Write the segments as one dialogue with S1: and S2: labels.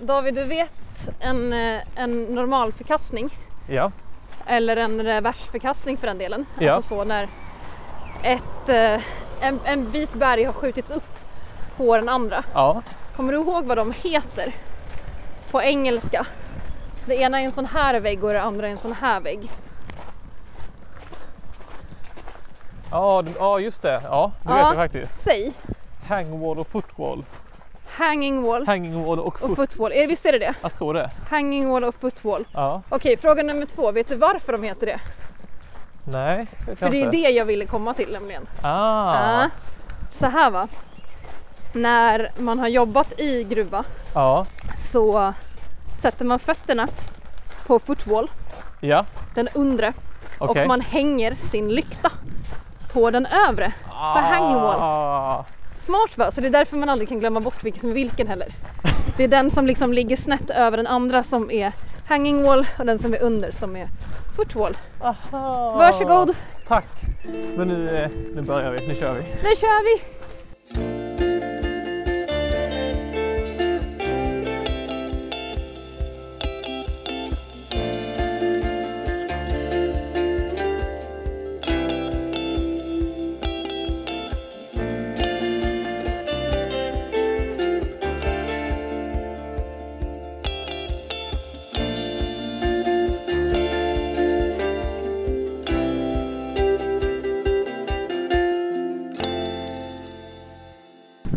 S1: David, du vet en, eh, en normal förkastning
S2: Ja,
S1: eller en reversförkastning för den delen.
S2: Ja.
S1: Alltså så när ett, eh, en, en bit berg har skjutits upp på den andra.
S2: ja.
S1: Kommer du ihåg vad de heter på engelska? Det ena är en sån här vägg och det andra är en sån här vägg.
S2: Ja, d- ja just det. Ja, det
S1: Ja.
S2: vet jag faktiskt.
S1: Säg
S2: Hangwall och footwall.
S1: hanging wall
S2: Hanging wall och
S1: och
S2: foot.
S1: footwall. Är- Visst är det det?
S2: Jag tror det.
S1: Hanging wall och footwall.
S2: Ja.
S1: Okej, fråga nummer två. Vet du varför de heter det?
S2: Nej, det vet
S1: För
S2: jag
S1: det är
S2: inte.
S1: det jag ville komma till nämligen.
S2: Ah.
S1: Ah. Så här va. När man har jobbat i gruva
S2: Ja.
S1: så sätter man fötterna på footwall,
S2: Ja,
S1: den undre,
S2: okej.
S1: och man hänger sin lykta på den övre.
S2: ah.
S1: hangwall. Smart va? Så det är därför man aldrig kan glömma bort vilken som är vilken heller. Det är den som liksom ligger snett över den andra som är hanging wall och den som är under som är footwall.
S2: Aha.
S1: Varsågod,
S2: Tack. Men nu, eh, nu börjar vi. Nu kör vi.
S1: nu kör vi!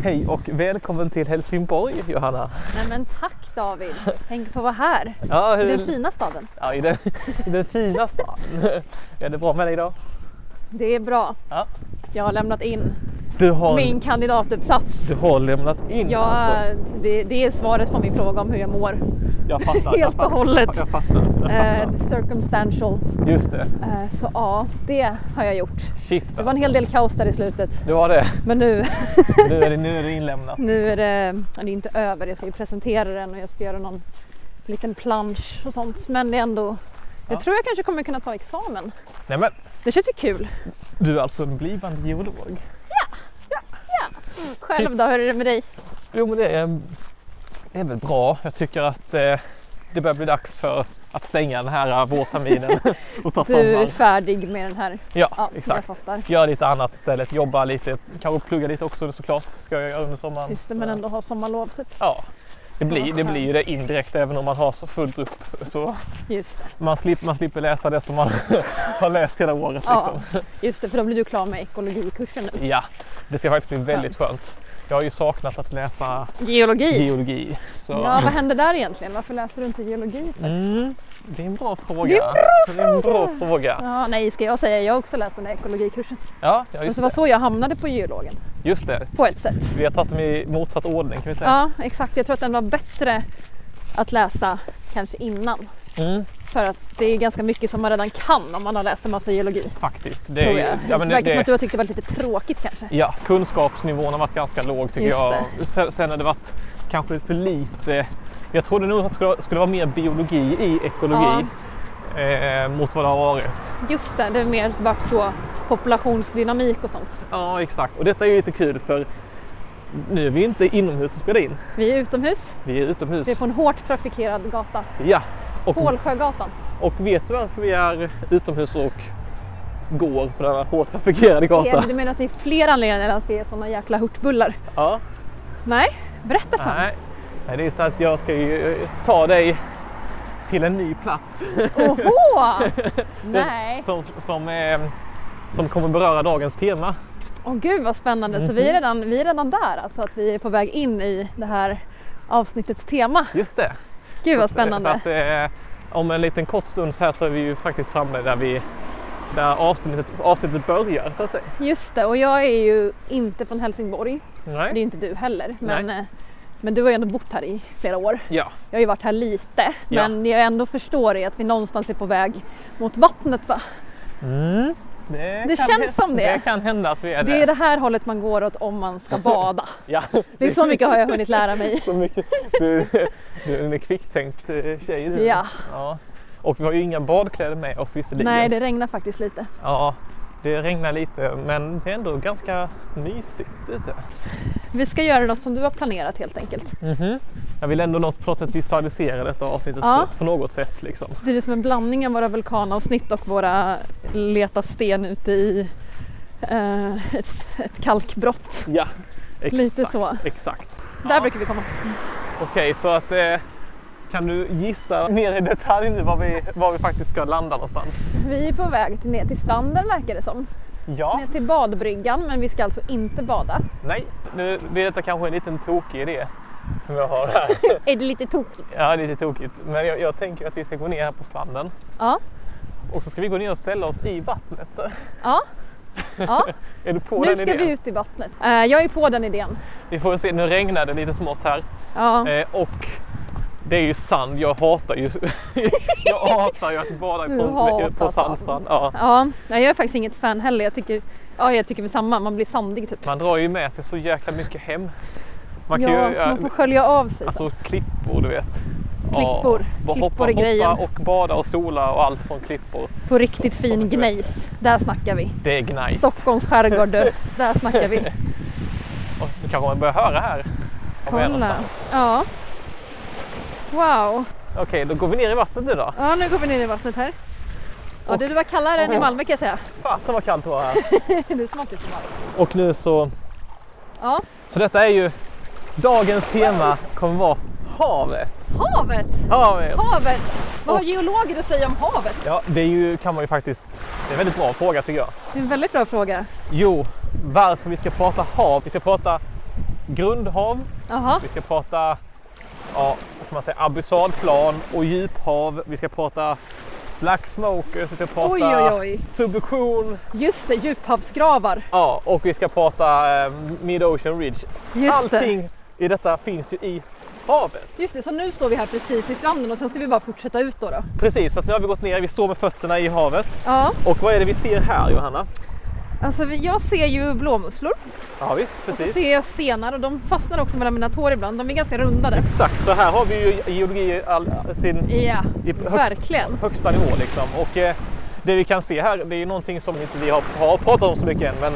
S2: Hej och välkommen till Helsingborg, Johanna.
S1: Nej men tack David! Tänk på att vara här,
S2: Ja,
S1: i
S2: hur...
S1: den fina staden.
S2: ja, i, den, I den fina stan. Är det bra med dig idag?
S1: Det är bra.
S2: Ja.
S1: Jag har lämnat in
S2: Du har,
S1: min kandidatuppsats.
S2: du har lämnat in
S1: Jag,
S2: alltså.
S1: det, det är svaret på min fråga om hur jag mår.
S2: Jag fattar. jag
S1: helt och
S2: fattar,
S1: hållet.
S2: Jag fattar. Jag fattar.
S1: Eh, circumstantial.
S2: Just det.
S1: Eh, så ja, det har jag gjort.
S2: Shit alltså.
S1: Det var en hel del kaos där i slutet.
S2: Det var det.
S1: Men nu,
S2: Nu är det, nu är det inlämnat.
S1: nu är det, ja, det är inte över. Jag ska ju presentera den och jag ska göra någon liten plansch och sånt. Men det är ändå, jag
S2: Ja.
S1: tror jag kanske kommer kunna ta examen.
S2: Nej, men.
S1: Det känns ju kul.
S2: Du är alltså en blivande geolog?
S1: Själv
S2: Mm. Shit.
S1: då, hur är det med dig?
S2: Jo men det är, det är väl bra. Jag tycker att eh, det börjar bli dags för att stänga den här eh, vårterminen och ta
S1: Du är
S2: sommar.
S1: färdig med den här.
S2: Ja,
S1: Ja,
S2: exakt.
S1: Jag fattar.
S2: Gör lite annat istället, jobba lite, kanske plugga lite också såklart. Ska jag göra under sommaren.
S1: Just det, men ändå ha sommarlov typ.
S2: Ja, det blir, det
S1: skönt.
S2: blir ju det indirekt även om man har så fullt upp. Så
S1: Just det.
S2: man, slipper, man slipper läsa det som man har läst hela året.
S1: Ja.
S2: Liksom.
S1: Just det, för då blir du klar med ekologikursen nu.
S2: Ja, det ska faktiskt bli väldigt skönt. Jag har ju saknat att läsa
S1: Geologi.
S2: geologi. Så.
S1: Ja, vad hände där egentligen? Varför läser du inte geologi?
S2: Mm, det är en bra fråga. Det är en bra fråga.
S1: Ja, nej, ska jag säga. Jag också läste den där ekologikursen.
S2: Ja, ja
S1: Och
S2: just,
S1: så var
S2: det.
S1: så jag hamnade på geologen,
S2: just det.
S1: på ett sätt.
S2: Vi har tagit dem i motsatt ordning kan vi säga.
S1: Ja, exakt. Jag tror att den var bättre att läsa kanske innan.
S2: Mm,
S1: För att det är ganska mycket som man redan kan om man har läst en massa geologi.
S2: faktiskt. Det, är
S1: tror
S2: ju-
S1: jag.
S2: ja, men
S1: det
S2: det,
S1: verkar som att du
S2: det,
S1: har tyckt det var lite tråkigt kanske.
S2: ja, kunskapsnivån har varit ganska låg tycker
S1: Just
S2: jag. Sen, sen har det varit kanske för lite. Jag trodde nog att det skulle, skulle vara mer biologi i ekologi eh, mot vad det har varit.
S1: Just det, det är mer så vart så populationsdynamik och sånt.
S2: Ja, exakt. Och detta är ju lite kul för nu är vi inte inomhus och spelar in.
S1: Vi är utomhus,
S2: Vi är
S1: vi är
S2: utomhus.
S1: på en hårt trafikerad gata.
S2: Ja. Och
S1: Pålsjögatan.
S2: Och vet du varför vi är utomhus och går på denna hårt trafikerade gata?
S1: Du menar att det är fler anledningar än att det är såna jäkla hurtbullar?
S2: Ja.
S1: Nej, berätta fan.
S2: Nej. Nej, det är så att jag ska ju eh, ta dig till en ny plats
S1: Oho! Nej.
S2: som, som, eh, som kommer beröra dagens tema.
S1: Åh gud vad spännande. Så
S2: Mhm.
S1: vi är, redan, vi är redan där alltså, att vi är på väg in i det här avsnittets tema.
S2: Just det.
S1: Gud
S2: Så
S1: vad
S2: att, eh, Så
S1: spännande.
S2: att, eh, om en liten kort stund så här så är vi ju faktiskt framme där vi där avsnittet, avsnittet börjar så att säga.
S1: Just det, och jag är ju inte från Helsingborg. Det är ju
S2: Nej.
S1: inte du heller. Men, eh, men du har ju ändå bott här i flera år.
S2: Ja,
S1: Jag har ju varit här lite.
S2: Ja.
S1: Men det jag ändå förstår är att vi någonstans är på väg mot vattnet va?
S2: Mm. det,
S1: Det
S2: kan
S1: känns
S2: hända-
S1: som det.
S2: Det kan hända att vi är
S1: Det är
S2: där.
S1: det här hållet man går åt om man ska bada.
S2: Ja.
S1: Det är så mycket har jag hunnit lära mig.
S2: så mycket. Du, du är en kvicktänkt eh, tjej. Du.
S1: Ja.
S2: ja. Och vi har ju inga badkläder med oss visserligen.
S1: Nej, det regnar faktiskt lite.
S2: Ja, Det regnar lite men det är ändå ganska mysigt ute.
S1: Vi ska göra något som du har planerat helt enkelt.
S2: Mhm. Jag vill ändå något- på något sätt visualisera detta avsnittet
S1: Ja.
S2: på, på något sätt. Liksom.
S1: Det är som en blandning av våra vulkanavsnitt och våra leta sten ute i eh, ett, ett kalkbrott.
S2: Ja, exakt.
S1: Lite så.
S2: Exakt.
S1: Där
S2: Ja.
S1: brukar vi komma.
S2: Okej, så att eh, kan du gissa mer i detalj nu var vi, var vi faktiskt ska landa någonstans?
S1: Vi är på väg till- ner till stranden verkar det som.
S2: Ja,
S1: Ner till badbryggan men vi ska alltså inte bada.
S2: nej, nu blir detta kanske en liten tokig idé som jag har här.
S1: Är det lite tokigt?
S2: Ja, lite tokigt. Men jag, jag tänker att vi ska gå ner här på stranden
S1: Ja.
S2: och så ska vi gå ner och ställa oss i vattnet.
S1: Ja. ja.
S2: Är du på
S1: nu
S2: den
S1: ska
S2: idén?
S1: vi ut i vattnet. Eh, jag är på den idén.
S2: Vi får se, nu regnar det lite smått här.
S1: Ja.
S2: Eh, och det är ju sand, jag hatar ju, jag hatar ju att bada
S1: Du
S2: på,
S1: hatar
S2: på
S1: sand.
S2: sandstrand. Ja.
S1: Ja, nej, jag är faktiskt inget fan heller. Jag tycker, ja, jag tycker samma, man blir sandig typ.
S2: Man drar ju med sig så jäkla mycket hem. Man kan
S1: ja,
S2: ju,
S1: man får skölja av sig.
S2: alltså klippor du vet.
S1: Klippor.
S2: Ja,
S1: Klippor
S2: hoppa,
S1: är grejen.
S2: hoppa och bada och sola och allt från klippor.
S1: på riktigt
S2: så-
S1: fin
S2: sådana grejer.
S1: gnejs. Där snackar vi.
S2: Det är nice.
S1: Stockholms skärgård du. Där snackar vi.
S2: Och nu kanske man börjar höra här. var vi är
S1: Kolla.
S2: någonstans.
S1: Ja. Wow.
S2: Okej, då går vi ner i vattnet nu då.
S1: Ja, nu går vi ner i vattnet här. Ja, det var kallare än i Malmö kan jag säga.
S2: Fasen vad kallt det var här.
S1: Du som alltid är så varm.
S2: Och nu så,
S1: Ja,
S2: så detta är ju dagens tema kommer vara havet.
S1: havet!
S2: Havet!
S1: Havet! Vad har geologer att säga om havet?
S2: Ja, det är ju, kan man ju faktiskt... Det är en väldigt bra fråga tycker jag.
S1: Det är en väldigt bra fråga.
S2: Jo, varför vi ska prata hav. Vi ska prata grundhav,
S1: Jaha,
S2: vi ska prata ja, vad kan man säga, abyssalplan och djuphav. Vi ska prata black smokers, vi ska prata
S1: oj oj oj.
S2: subvention
S1: Just det, djuphavsgravar.
S2: ja, och vi ska prata eh, mid ocean ridge.
S1: Just det.
S2: Allting i detta finns ju i havet.
S1: Just det, så nu står vi här precis i stranden och sen ska vi bara fortsätta ut då. då.
S2: Precis, så att nu har vi gått ner, vi står med fötterna i havet.
S1: Ja,
S2: Och vad är det vi ser här Johanna?
S1: alltså vi- jag ser ju blåmusslor
S2: Ja visst,
S1: och så
S2: precis.
S1: ser jag stenar och de fastnar också mellan mina tår ibland. De är ganska rundade.
S2: Exakt, så här har vi ju geologi i all, sin
S1: Ja,
S2: i högst,
S1: verkligen.
S2: högsta nivå. Liksom. Och, eh, det vi kan se här, det är ju någonting som inte vi har, har pratat om så mycket än, men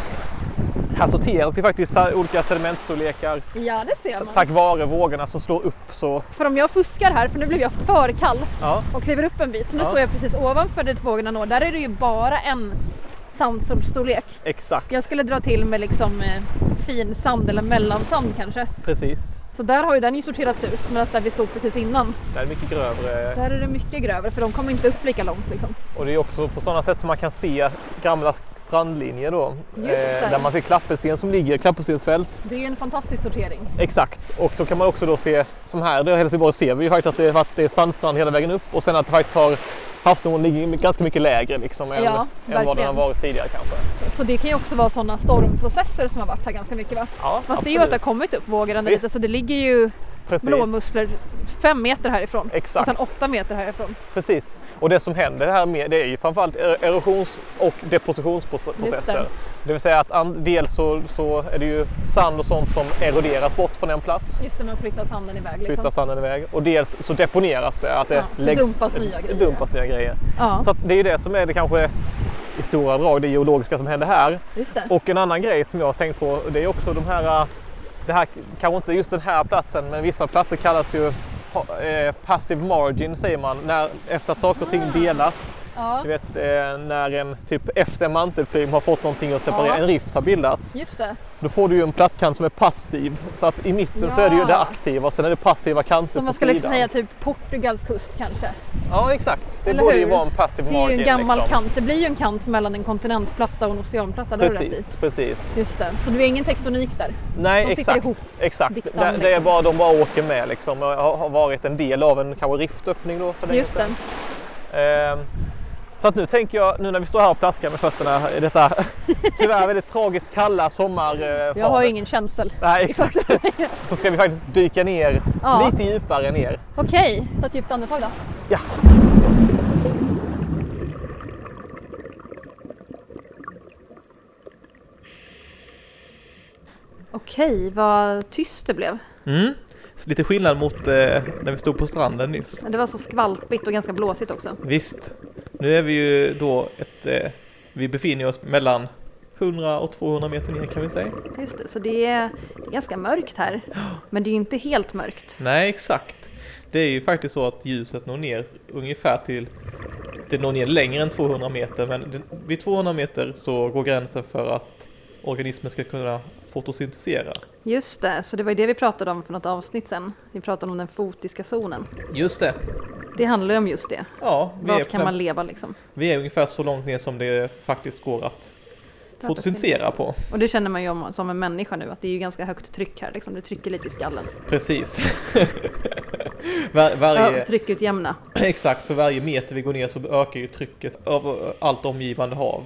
S2: här sorteras ju faktiskt sa- olika sedimentstorlekar
S1: Ja, det ser man.
S2: tack vare vågorna som slår upp. Så,
S1: För om jag fuskar här, för nu blev jag för kall
S2: ja,
S1: och kliver upp en bit. Så nu
S2: Ja.
S1: står jag precis ovanför dit vågorna når. Där är det ju bara en sandsolstorlek.
S2: exakt,
S1: Jag skulle dra till med liksom eh, fin sand eller mellansand kanske.
S2: precis.
S1: Så där har ju den ju sorterats ut medan där vi stod precis innan.
S2: Det är mycket grövre
S1: Där är det mycket grövre för de kommer inte upp lika långt liksom.
S2: och det är också på sådana sätt som man kan se gamla strandlinjer då. Eh,
S1: Just det.
S2: där man ser klappelsten som ligger, klappelstensfält.
S1: Det är ju en fantastisk sortering.
S2: Exakt, och så kan man också då se, som här i Helsingborg ser vi ju faktiskt att det, att det är sandstrand hela vägen upp och sen att det faktiskt har havsnivån ligger ganska mycket lägre liksom än,
S1: Ja,
S2: än vad den har
S1: verkligen.
S2: varit tidigare kanske.
S1: Så det kan ju också vara sådana stormprocesser som har varit här ganska mycket va?
S2: Ja,
S1: Man ser ju att det har kommit upp vågor ändå
S2: Visst.
S1: lite så det ligger ju
S2: Precis.
S1: blåmusslor fem meter härifrån.
S2: Exakt,
S1: Och sen åtta meter härifrån.
S2: precis. Och det som händer här med det är ju framförallt er- erosions och
S1: Just det.
S2: depositionsprocesser. Det vill säga att an- dels så, så är det ju sand och sånt som eroderas bort från en plats.
S1: Just det, man flyttar sanden iväg. Liksom.
S2: Flyttar sanden iväg och dels så deponeras det, att det
S1: Ja, det
S2: läggs,
S1: dumpas nya grejer.
S2: dumpas nya grejer.
S1: Ja,
S2: Så att det är ju det som är det kanske i stora drag det geologiska som händer här.
S1: just det.
S2: Och en annan grej som jag har tänkt på det är också de här, äh, det här kanske inte just den här platsen men vissa platser kallas ju ha- eh, passive margin säger man, när, efter att saker och ting delas.
S1: Ja,
S2: Du vet eh, när en, typ efter en mantelprim har fått någonting att separera,
S1: Ja.
S2: en rift har bildats.
S1: just det.
S2: Då får du ju en plattkant som är passiv. Så att i mitten så är det ju
S1: Ja.
S2: det aktiva och sen är det passiva kanter
S1: Som
S2: på
S1: man skulle
S2: sidan.
S1: säga typ Portugals kust kanske.
S2: Ja exakt, det
S1: Eller
S2: borde ju
S1: hur?
S2: vara en passive
S1: Det är ju
S2: margin.
S1: en gammal
S2: liksom.
S1: kant. Det blir ju en kant mellan en kontinentplatta och en oceanplatta. Det har du rätt i.
S2: Precis, precis.
S1: Just det. Så det är ingen tektonik där.
S2: Nej,
S1: De sitter
S2: exakt.
S1: ihop,
S2: exakt.
S1: diktan,
S2: Det, det är
S1: liksom.
S2: bara, de bara åker med liksom och har har varit en del av en kanske riftöppning då för länge
S1: Just det.
S2: Ehm, så att nu tänker jag, nu när vi står här och plaskar med fötterna i detta tyvärr väldigt tragiskt kalla sommar. eh,
S1: Jag har
S2: havet.
S1: ju ingen känsel.
S2: Nej, exakt. så ska vi faktiskt dyka ner
S1: Ja.
S2: lite djupare ner.
S1: Okej, ta ett djupt andetag då.
S2: Ja.
S1: Okej, vad tyst det blev.
S2: Mm. Lite skillnad mot eh, när vi stod på stranden nyss.
S1: Det var så skvalpigt och ganska blåsigt också.
S2: Visst, nu är vi ju då ett eh, Vi befinner oss mellan 100 och 200 meter ner kan vi säga.
S1: Just det, så det är, det är ganska mörkt här. Men det är ju inte helt mörkt.
S2: Nej, exakt. Det är ju faktiskt så att ljuset når ner ungefär till, det når ner längre än 200 meter, men det- vid 200 meter så går gränsen för att organismen ska kunna fotosyntesera.
S1: Just det, så det var ju det vi pratade om för något avsnitt sen. Vi pratade om den fotiska zonen.
S2: Just det.
S1: Det handlar ju om just det.
S2: Ja, vi är,
S1: Vart
S2: på
S1: kan
S2: den-
S1: man leva liksom?
S2: vi är ungefär så långt ner som det faktiskt går att fotosyntesera på.
S1: Och det känner man ju om, som en människa nu, att det är ju ganska högt tryck här liksom. Det trycker lite i skallen. Precis.
S2: Var,
S1: Ja, typ.
S2: varje,
S1: tryckutjämna.
S2: exakt, för varje meter vi går ner så ökar ju trycket av allt omgivande hav.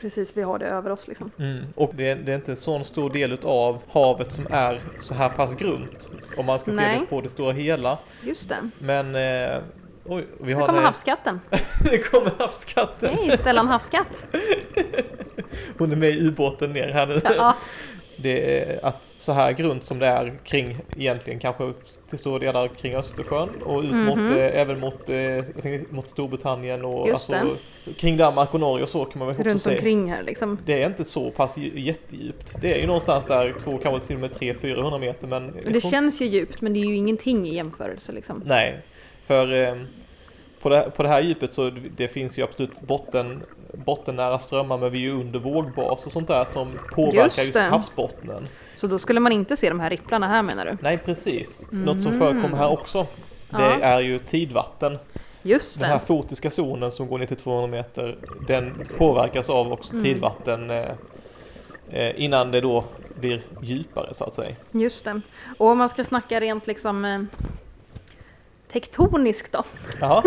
S1: Precis, vi har det över oss liksom.
S2: Mm. Och det är, det är inte en sån stor del av havet som är så här pass grunt. Om man ska se
S1: Nej.
S2: det på det stora hela.
S1: Just det.
S2: Men... Eh, oj, vi har
S1: Nu kommer
S2: en,
S1: havskatten.
S2: det kommer havskatten!
S1: Hej, Stellan havskatt!
S2: Hon är med i ubåten ner här nu.
S1: Ja,
S2: Det är att så här grunt som det är kring, egentligen kanske till stora delar kring Östersjön och ut mot,
S1: Mhm.
S2: eh, även mot, eh, jag tänkte, mot Storbritannien och
S1: Just
S2: alltså, kring Danmark och Norge och så kan man väl också
S1: runt
S2: säga.
S1: omkring här liksom.
S2: Det är inte så pass dju- jättedjupt. Det är ju någonstans där två, kanske till och med tre, 400 meter. Men jag
S1: Och
S2: tror
S1: det
S2: inte-
S1: känns ju djupt men det är ju ingenting i jämförelse liksom.
S2: Nej, för eh, på, det, på det här djupet så det finns ju absolut botten, bottennära strömmar men vi är ju under vågbas och sånt där som påverkar
S1: Just
S2: just,
S1: det.
S2: havsbottnen.
S1: Så då skulle man inte se de här ripplarna här menar du?
S2: Nej, precis. Något
S1: Mhm.
S2: som förekommer här också. Det
S1: Ja.
S2: är ju tidvatten.
S1: Just
S2: Den här
S1: det.
S2: fotiska zonen som går ner till 200 meter, den påverkas av också
S1: Mm.
S2: tidvatten eh, eh, innan det då blir djupare så att säga.
S1: Just det. Och om man ska snacka rent liksom eh, tektoniskt då.
S2: Jaha,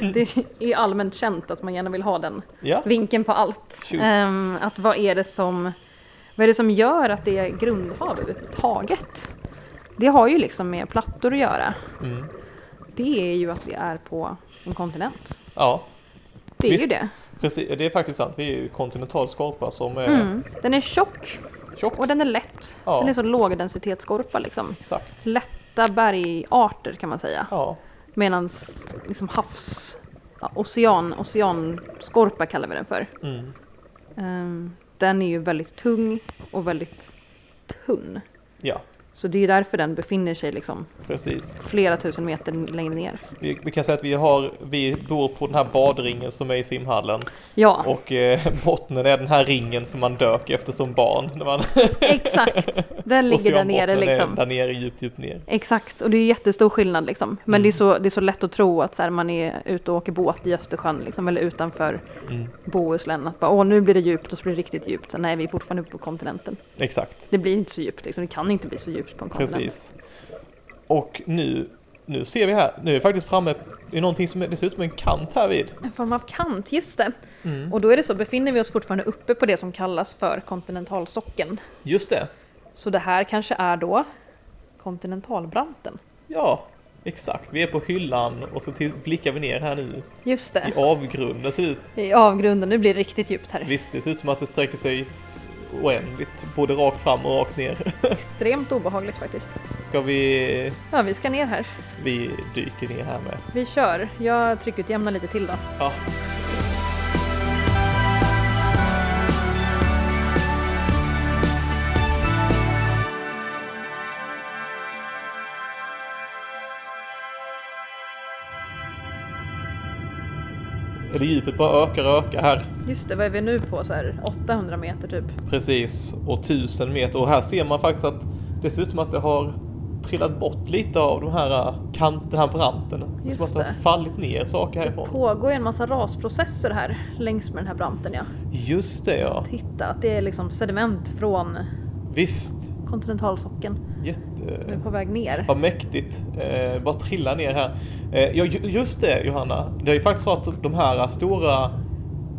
S2: Mm.
S1: Det är ju allmänt känt att man gärna vill ha den
S2: ja.
S1: vinkeln på allt.
S2: Shoot.
S1: Ehm, att vad är det som vad är det som gör att det är grundhav överhuvudtaget? Det har ju liksom med plattor att göra.
S2: Mm.
S1: Det är ju att vi är på en kontinent.
S2: Ja,
S1: Det är ju
S2: Visst.
S1: det.
S2: precis. Det är faktiskt sant. Vi är ju kontinental skorpa som är
S1: Mm. Den är tjock
S2: tjock.
S1: och den är lätt.
S2: Ja.
S1: Den är så lågdensitetsskorpa liksom.
S2: Exakt.
S1: Lätta bergarter kan man säga.
S2: Ja,
S1: Medan liksom havs... Ja, ocean, oceanskorpa kallar vi den för.
S2: mm.
S1: Ehm, den är ju väldigt tung och väldigt tunn.
S2: ja
S1: Så det är därför den befinner sig liksom
S2: precis.
S1: flera tusen meter längre ner.
S2: Vi, vi kan säga att vi, har, vi bor på den här badringen som är i simhallen
S1: Ja,
S2: och eh, bottnen är den här ringen som man dök efter som barn. När man
S1: exakt. Den ligger där nere
S2: oceanbottnen är
S1: liksom.
S2: Där nere, djupt, djupt ner.
S1: Exakt, och det är jättestor skillnad liksom. Men
S2: Mm.
S1: det, är så, det är så lätt att tro att så här, man är ute och åker båt i Östersjön liksom, eller utanför
S2: Mm.
S1: Bohuslän. Att bara, Åh, nu blir det djupt och så blir det riktigt djupt. Så, nej, vi är fortfarande uppe på kontinenten.
S2: Exakt,
S1: Det blir inte så djupt, liksom. det kan inte bli så djupt på en kontinent.
S2: precis. Och nu, nu ser vi här, nu är vi faktiskt framme i någonting som är- det ser ut som en kant här vid.
S1: En form av kant, just det.
S2: Mm.
S1: Och då är det så, befinner vi oss fortfarande uppe på det som kallas för kontinentalsockeln.
S2: Just det,
S1: Så det här kanske är då kontinentalbranten.
S2: ja. Exakt, vi är på hyllan och så till, blickar vi ner här nu
S1: Just
S2: i
S1: det,
S2: avgrunden ser det ut.
S1: i avgrunden. Nu blir det riktigt djupt här.
S2: Visst, det ser ut som att det sträcker sig oändligt, både rakt fram och rakt ner.
S1: Extremt obehagligt faktiskt.
S2: Ska vi...
S1: Ja, vi ska ner här.
S2: Vi dyker ner här med.
S1: Vi kör. Jag tryckutjämnar lite till då.
S2: Ja. Eller djupet bara ökar och ökar här.
S1: Just det, vad är vi nu på? Så här 800 meter typ.
S2: Precis, och tusen meter. Och här ser man faktiskt att det ser ut som att det har trillat bort lite av de här äh, kant, den här branten. Det är
S1: Just
S2: som att det
S1: det.
S2: har fallit ner saker
S1: Det
S2: härifrån.
S1: pågår ju en massa rasprocesser här längs med den här branten ja.
S2: Just det ja.
S1: Titta, att det är liksom sediment från
S2: Visst.
S1: kontinentalsockeln som
S2: Jätte...
S1: är på väg ner.
S2: Vad mäktigt. Eh, bara trilla ner här. Eh, ja, ju- just det Johanna. Det är ju faktiskt så att de här äh, stora...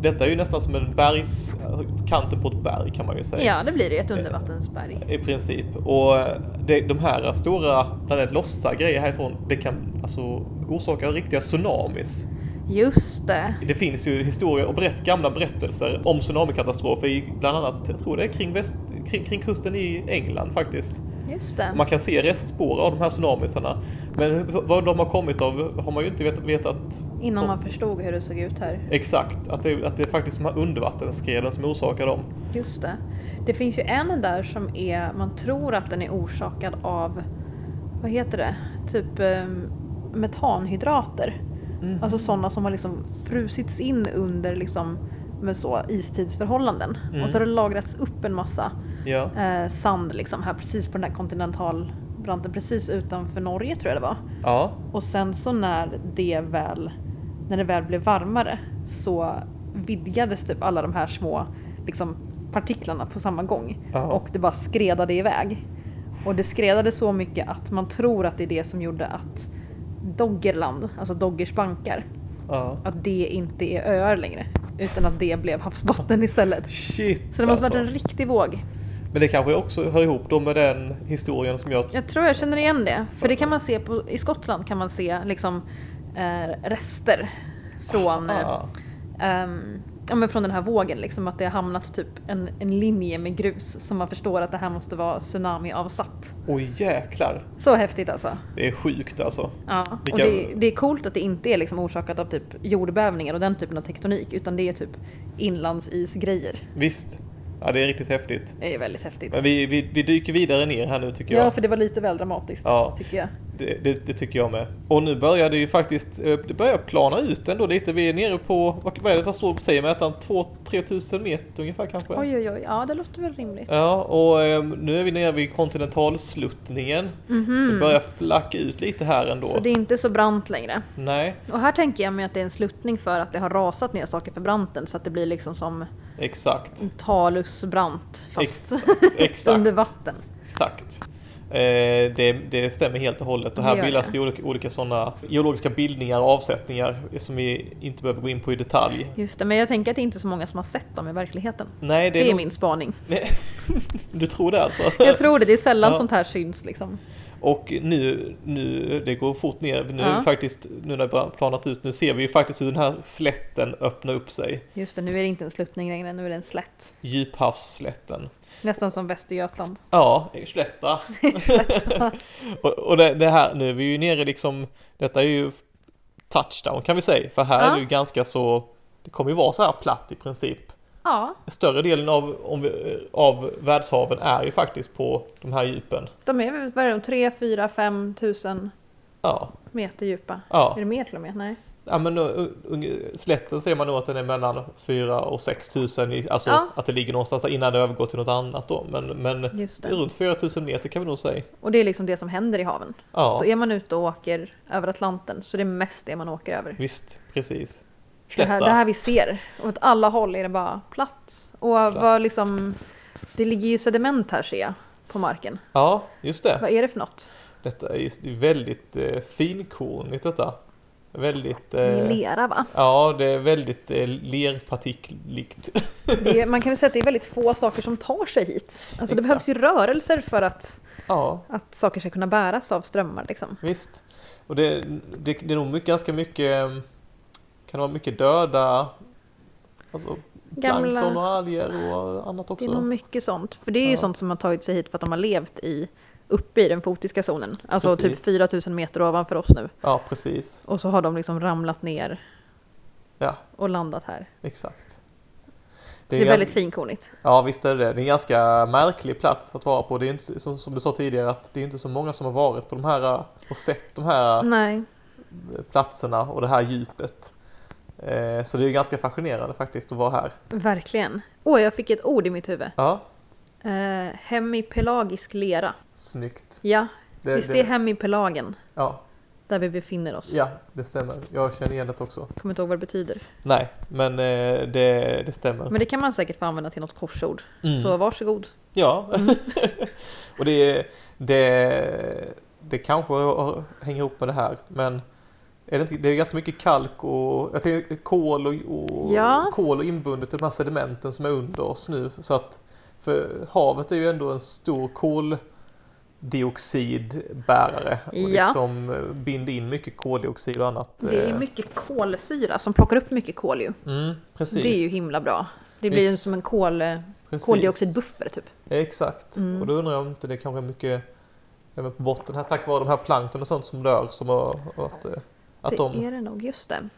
S2: Detta är ju nästan som en bergs... alltså, Kanten på ett berg kan man ju säga.
S1: Ja, det blir det ju ett undervattensberg.
S2: I princip. Och eh, det, de här stora, när det lossar grejer härifrån, det kan alltså orsaka riktiga tsunamis.
S1: Just det.
S2: Det finns ju historier och berätt, gamla berättelser om tsunamikatastrofer i bland annat, jag tror det är kring väst, kring, kring kusten i England faktiskt.
S1: Just det.
S2: Man kan se restspår av de här tsunamisarna. Men hur- vad de har kommit av har man ju inte vet- vetat
S1: Innan
S2: så-
S1: man förstod hur det såg ut här.
S2: exakt. Att det, att det är faktiskt de här undervattensskredarna som orsakar dem.
S1: Just det. Det finns ju en där som är, man tror att den är orsakad av, vad heter det, typ eh, metanhydrater.
S2: Mhm.
S1: Alltså sådana som har liksom frusits in under liksom med så istidsförhållanden.
S2: Mm.
S1: Och så har det lagrats upp en massa
S2: Ja.
S1: eh, sand liksom här precis på den här kontinentalbranten precis utanför Norge tror jag det var.
S2: ja.
S1: Och sen så när det väl, när det väl blev varmare så vidgades typ alla de här små liksom, partiklarna på samma gång.
S2: Ja.
S1: Och det bara skredade iväg. Och det skredade så mycket att man tror att det är det som gjorde att Doggerland, alltså Doggers bankar,
S2: ja.
S1: att det inte är öar längre. Utan att det blev havsbotten istället.
S2: Shit
S1: Så det måste
S2: alltså.
S1: varit en riktig våg.
S2: Men det kanske också hör ihop då med den historien som jag...
S1: Jag tror jag känner igen det. För det kan man se på, i Skottland kan man se liksom eh, rester från,
S2: Ah.
S1: eh, ehm, ja, men från den här vågen. Liksom att det har hamnat typ en, en linje med grus som man förstår att det här måste vara tsunamiavsatt.
S2: Oj jäklar.
S1: Så häftigt alltså.
S2: Det är sjukt alltså.
S1: Ja. Och
S2: Vilka-
S1: det, det är coolt att det inte är liksom orsakat av typ jordbävningar och den typen av tektonik utan det är typ inlandsisgrejer.
S2: Visst. Ja, det är riktigt häftigt.
S1: Det är väldigt häftigt.
S2: Men vi, vi, vi dyker vidare ner här nu tycker jag.
S1: Ja, för det var lite väl dramatiskt
S2: Ja.
S1: tycker jag.
S2: Det, det, det tycker jag med. Och nu börjar det ju faktiskt eh, det börjar plana ut ändå lite. Vi är nere på, vad vad är det, vad står säger mätaren? 2-3 tusen meter ungefär kanske?
S1: Oj oj oj, ja det låter väl rimligt.
S2: Ja, och eh, nu är vi nere vid kontinentalsluttningen. Det börjar flacka ut lite här ändå.
S1: Mm. Så det är inte så brant längre.
S2: Nej,
S1: Och här tänker jag mig att det är en sluttning för att det har rasat ner saker för branten så att det blir liksom som
S2: exakt.
S1: talusbrant Mm, fast
S2: Exakt, exakt.
S1: under vatten.
S2: Exakt. Eh, det, det stämmer helt och hållet. Och
S1: Det
S2: här
S1: gör
S2: bildas
S1: det.
S2: det olika, olika sådana geologiska bildningar och avsättningar som vi inte behöver gå in på i detalj.
S1: Just det, men jag tänker att det är inte så många som har sett dem i verkligheten.
S2: Nej, det
S1: Det
S2: är,
S1: är,
S2: nog-
S1: min spaning.
S2: Nej. Du tror det alltså?
S1: Jag tror det, det är sällan
S2: Ja.
S1: sånt här syns liksom.
S2: Och nu, nu, det går fort ner. Nu, är
S1: Ja.
S2: det faktiskt, nu när det har planat ut, nu ser vi ju faktiskt hur den här slätten öppnar upp sig.
S1: Just det, nu är det inte en sluttning längre, nu är det en slätt.
S2: Djuphavsslätten.
S1: Nästan som Västergötland.
S2: Ja, slätta. och och det, det här, nu är vi ju nere liksom, detta är ju touchdown kan vi säga, för här är
S1: Ja.
S2: det ju ganska så, det kommer ju vara så här platt i princip.
S1: Ja,
S2: Större delen av, om vi, av världshaven är ju faktiskt på de här djupen.
S1: de är väl vad är de, 3, 4, 5 tusen
S2: Ja,
S1: meter djupa.
S2: ja.
S1: Är det mer till och med? Nej.
S2: Ja men uh, unge- slätten ser man nog att den är mellan 4 och 6 tusen, i- alltså
S1: Ja.
S2: att det ligger någonstans där innan det övergår till något annat då. Men, men
S1: Just
S2: det
S1: det.
S2: är runt 4 000 meter kan vi nog säga.
S1: Och det är liksom det som händer i haven.
S2: Ja,
S1: Så är man ute och åker över Atlanten så det är mest det man åker över.
S2: visst, precis.
S1: Det
S2: Slätta.
S1: här, det här vi ser. Och åt alla håll är det bara platt. Och vad liksom, det ligger ju sediment här ser jag på marken.
S2: Ja, just det.
S1: Vad är det för något?
S2: Detta är just det är väldigt eh, finkornigt detta. Väldigt...
S1: Det är
S2: Eh,
S1: lera va?
S2: ja, det är väldigt eh, lerpartiklikt.
S1: Det är, man kan väl säga att det är väldigt få saker som tar sig hit. Alltså det
S2: Exakt.
S1: behövs ju rörelser för att,
S2: ja.
S1: att saker ska kunna bäras av strömmar liksom.
S2: Visst. Och det, det, det är nog mycket, ganska mycket, eh, kan det vara mycket döda, alltså
S1: Gamla-
S2: plankton och alger och annat
S1: Det är nog
S2: också.
S1: mycket sånt. För det är ju
S2: Ja.
S1: sånt som har tagit sig hit för att de har levt i uppe i den fotiska zonen. Alltså
S2: Precis.
S1: typ 4000 meter ovanför oss nu.
S2: Ja, precis.
S1: Och så har de liksom ramlat ner
S2: Ja,
S1: och landat här.
S2: exakt.
S1: Det är,
S2: ganska-
S1: väldigt finkornigt.
S2: Ja, visst är det det. Det är en ganska märklig plats att vara på. Det är inte, som, som du sa tidigare, att det är inte så många som har varit på de här eh, och sett de här eh,
S1: Nej.
S2: platserna och det här djupet. Eh, Så det är ju ganska fascinerande faktiskt att vara här.
S1: Verkligen. Åh, jag fick ett ord i mitt huvud.
S2: Ja,
S1: Uh, hemipelagisk lera.
S2: snyggt.
S1: Ja,
S2: Det,
S1: visst det är hemipelagen
S2: ja,
S1: där vi befinner oss.
S2: ja, det stämmer. Jag känner igen det också.
S1: Kommer inte ihåg vad det betyder.
S2: Nej, men eh, det, det stämmer.
S1: Men det kan man säkert få använda till något korsord.
S2: Mm.
S1: Så Mm. varsågod.
S2: Ja, och det, det, det kanske har- hänger ihop med det här, men är det, inte, det är ganska mycket kalk och jag tänker, kol, och, och,
S1: Ja.
S2: kol och inbundet i de här sedimenten som är under oss nu. Så att, för havet är ju ändå en stor koldioxidbärare och
S1: Ja.
S2: liksom eh, binder in mycket koldioxid och annat.
S1: Det är ju
S2: eh,
S1: mycket kolsyra som plockar upp mycket kol ju.
S2: mm, precis.
S1: Det är ju himla bra. Det blir ju
S2: Visst.
S1: som en kol,
S2: Precis.
S1: koldioxidbuffer typ.
S2: Exakt,
S1: Mm.
S2: och då undrar jag om inte det kanske är mycket även på botten här tack vare de här plankton och sånt som dör som har, och att, eh, att
S1: det
S2: de,
S1: är det nog, just det.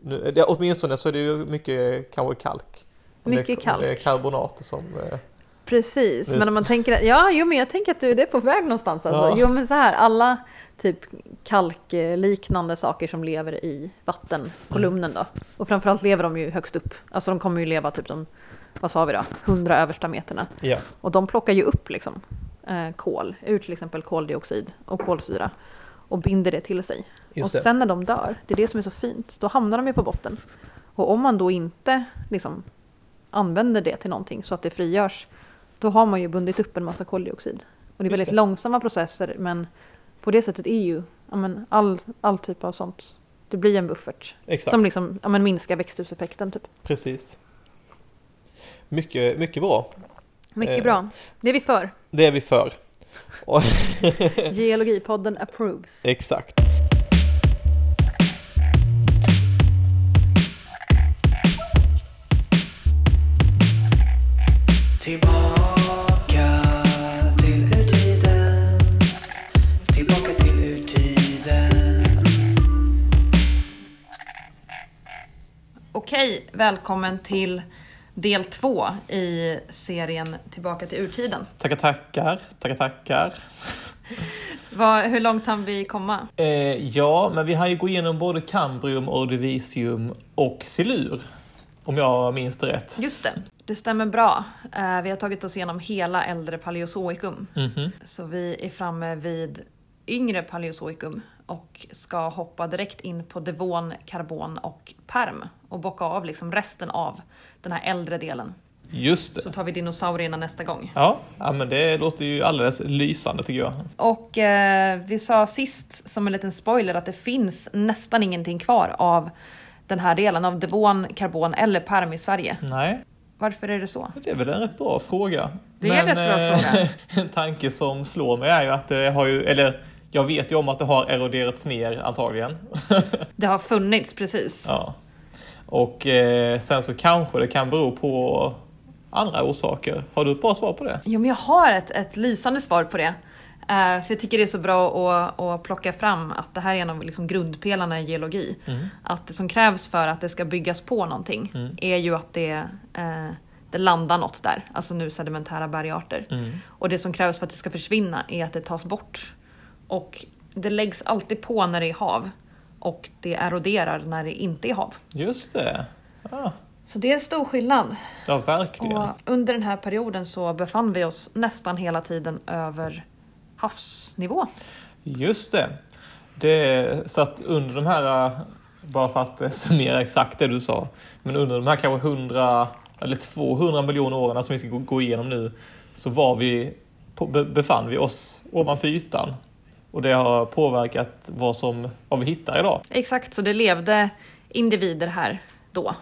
S2: nu, det, åtminstone så är det ju mycket kanske kalk. Om det är-
S1: Mycket
S2: om Det är
S1: kalk.
S2: karbonater som, eh,
S1: Precis,
S2: Just
S1: men om man tänker att, ja jo men jag tänker att du det är på väg någonstans alltså.
S2: Ja.
S1: Jo men så här, alla typ kalkliknande saker som lever i
S2: Mm.
S1: vattenkolumnen då. Och framförallt lever de ju högst upp. Alltså de kommer ju leva typ de, vad sa vi då, hundra översta meterna.
S2: ja,
S1: Och de plockar ju upp liksom eh, kol, ur till exempel koldioxid och kolsyra. Och binder det till sig.
S2: just
S1: och
S2: det.
S1: sen när de dör, det är det som är så fint, då hamnar de ju på botten. Och om man då inte liksom, använder det till någonting så att det frigörs, då har man ju bundit upp en massa koldioxid. Och det är
S2: Just
S1: väldigt
S2: det.
S1: långsamma processer men på det sättet är ju ja, men all, all typ av sånt, det blir en buffert.
S2: Exakt,
S1: Som liksom, ja, men minskar växthuseffekten typ.
S2: precis. Mycket, mycket bra.
S1: Mycket
S2: Eh.
S1: bra. Det är vi för.
S2: Det är vi för. Och
S1: Geologipodden approves.
S2: Exakt.
S3: Tillbaka till urtiden Tillbaka till urtiden
S1: Okej, välkommen till del två i serien Tillbaka till urtiden.
S2: Tackar, tackar, tackar, tackar.
S1: Vad- hur långt hann vi komma?
S2: Eh, ja, men vi har ju gå igenom både kambrium, ordovisium och silur. Om jag minns det rätt.
S1: Just det, det stämmer bra. Eh, vi har tagit oss igenom hela äldre paleozoikum.
S2: Mhm.
S1: Så vi är framme vid yngre paleozoikum och ska hoppa direkt in på devon, karbon och perm och bocka av liksom resten av den här äldre delen.
S2: Just det.
S1: Så tar vi dinosaurierna nästa gång.
S2: Ja, ja, men det låter ju alldeles lysande tycker jag.
S1: Och eh, vi sa sist, som en liten spoiler, att det finns nästan ingenting kvar av den här delen av devon, karbon eller perm i Sverige.
S2: Nej,
S1: Varför är det så?
S2: det är väl en rätt bra fråga.
S1: Det är en rätt bra
S2: eh, En tanke som slår mig är ju att det har ju, eller jag vet ju om att det har eroderats ner antagligen.
S1: Det har funnits, precis.
S2: Ja. Och eh, sen så kanske det kan bero på andra orsaker. Har du ett bra svar på det?
S1: Jo, men jag har ett, ett lysande svar på det. Eh, för jag tycker det är så bra att, att plocka fram att det här är en av liksom grundpelarna i geologi. Att det som krävs för att det ska byggas på någonting är ju att det, eh, det landar något där. Alltså nu sedimentära bergarter. Och det som krävs för att det ska försvinna är att det tas bort. Och det läggs alltid på när det är hav. Och det eroderar när det inte är hav.
S2: Just det. Ja,
S1: Så det är en stor skillnad.
S2: ja verkligen.
S1: Och under den här perioden så befann vi oss nästan hela tiden över havsnivå.
S2: Just det. det. Så att under de här, eh, bara för att eh, summera exakt det du sa, men under de här kanske 100 eller 200 miljoner åren som vi ska gå- gå igenom nu, så var vi, på- be- befann vi oss ovanför ytan. Och det har påverkat vad, som, vad vi hittar idag.
S1: Exakt, så det levde individer här då.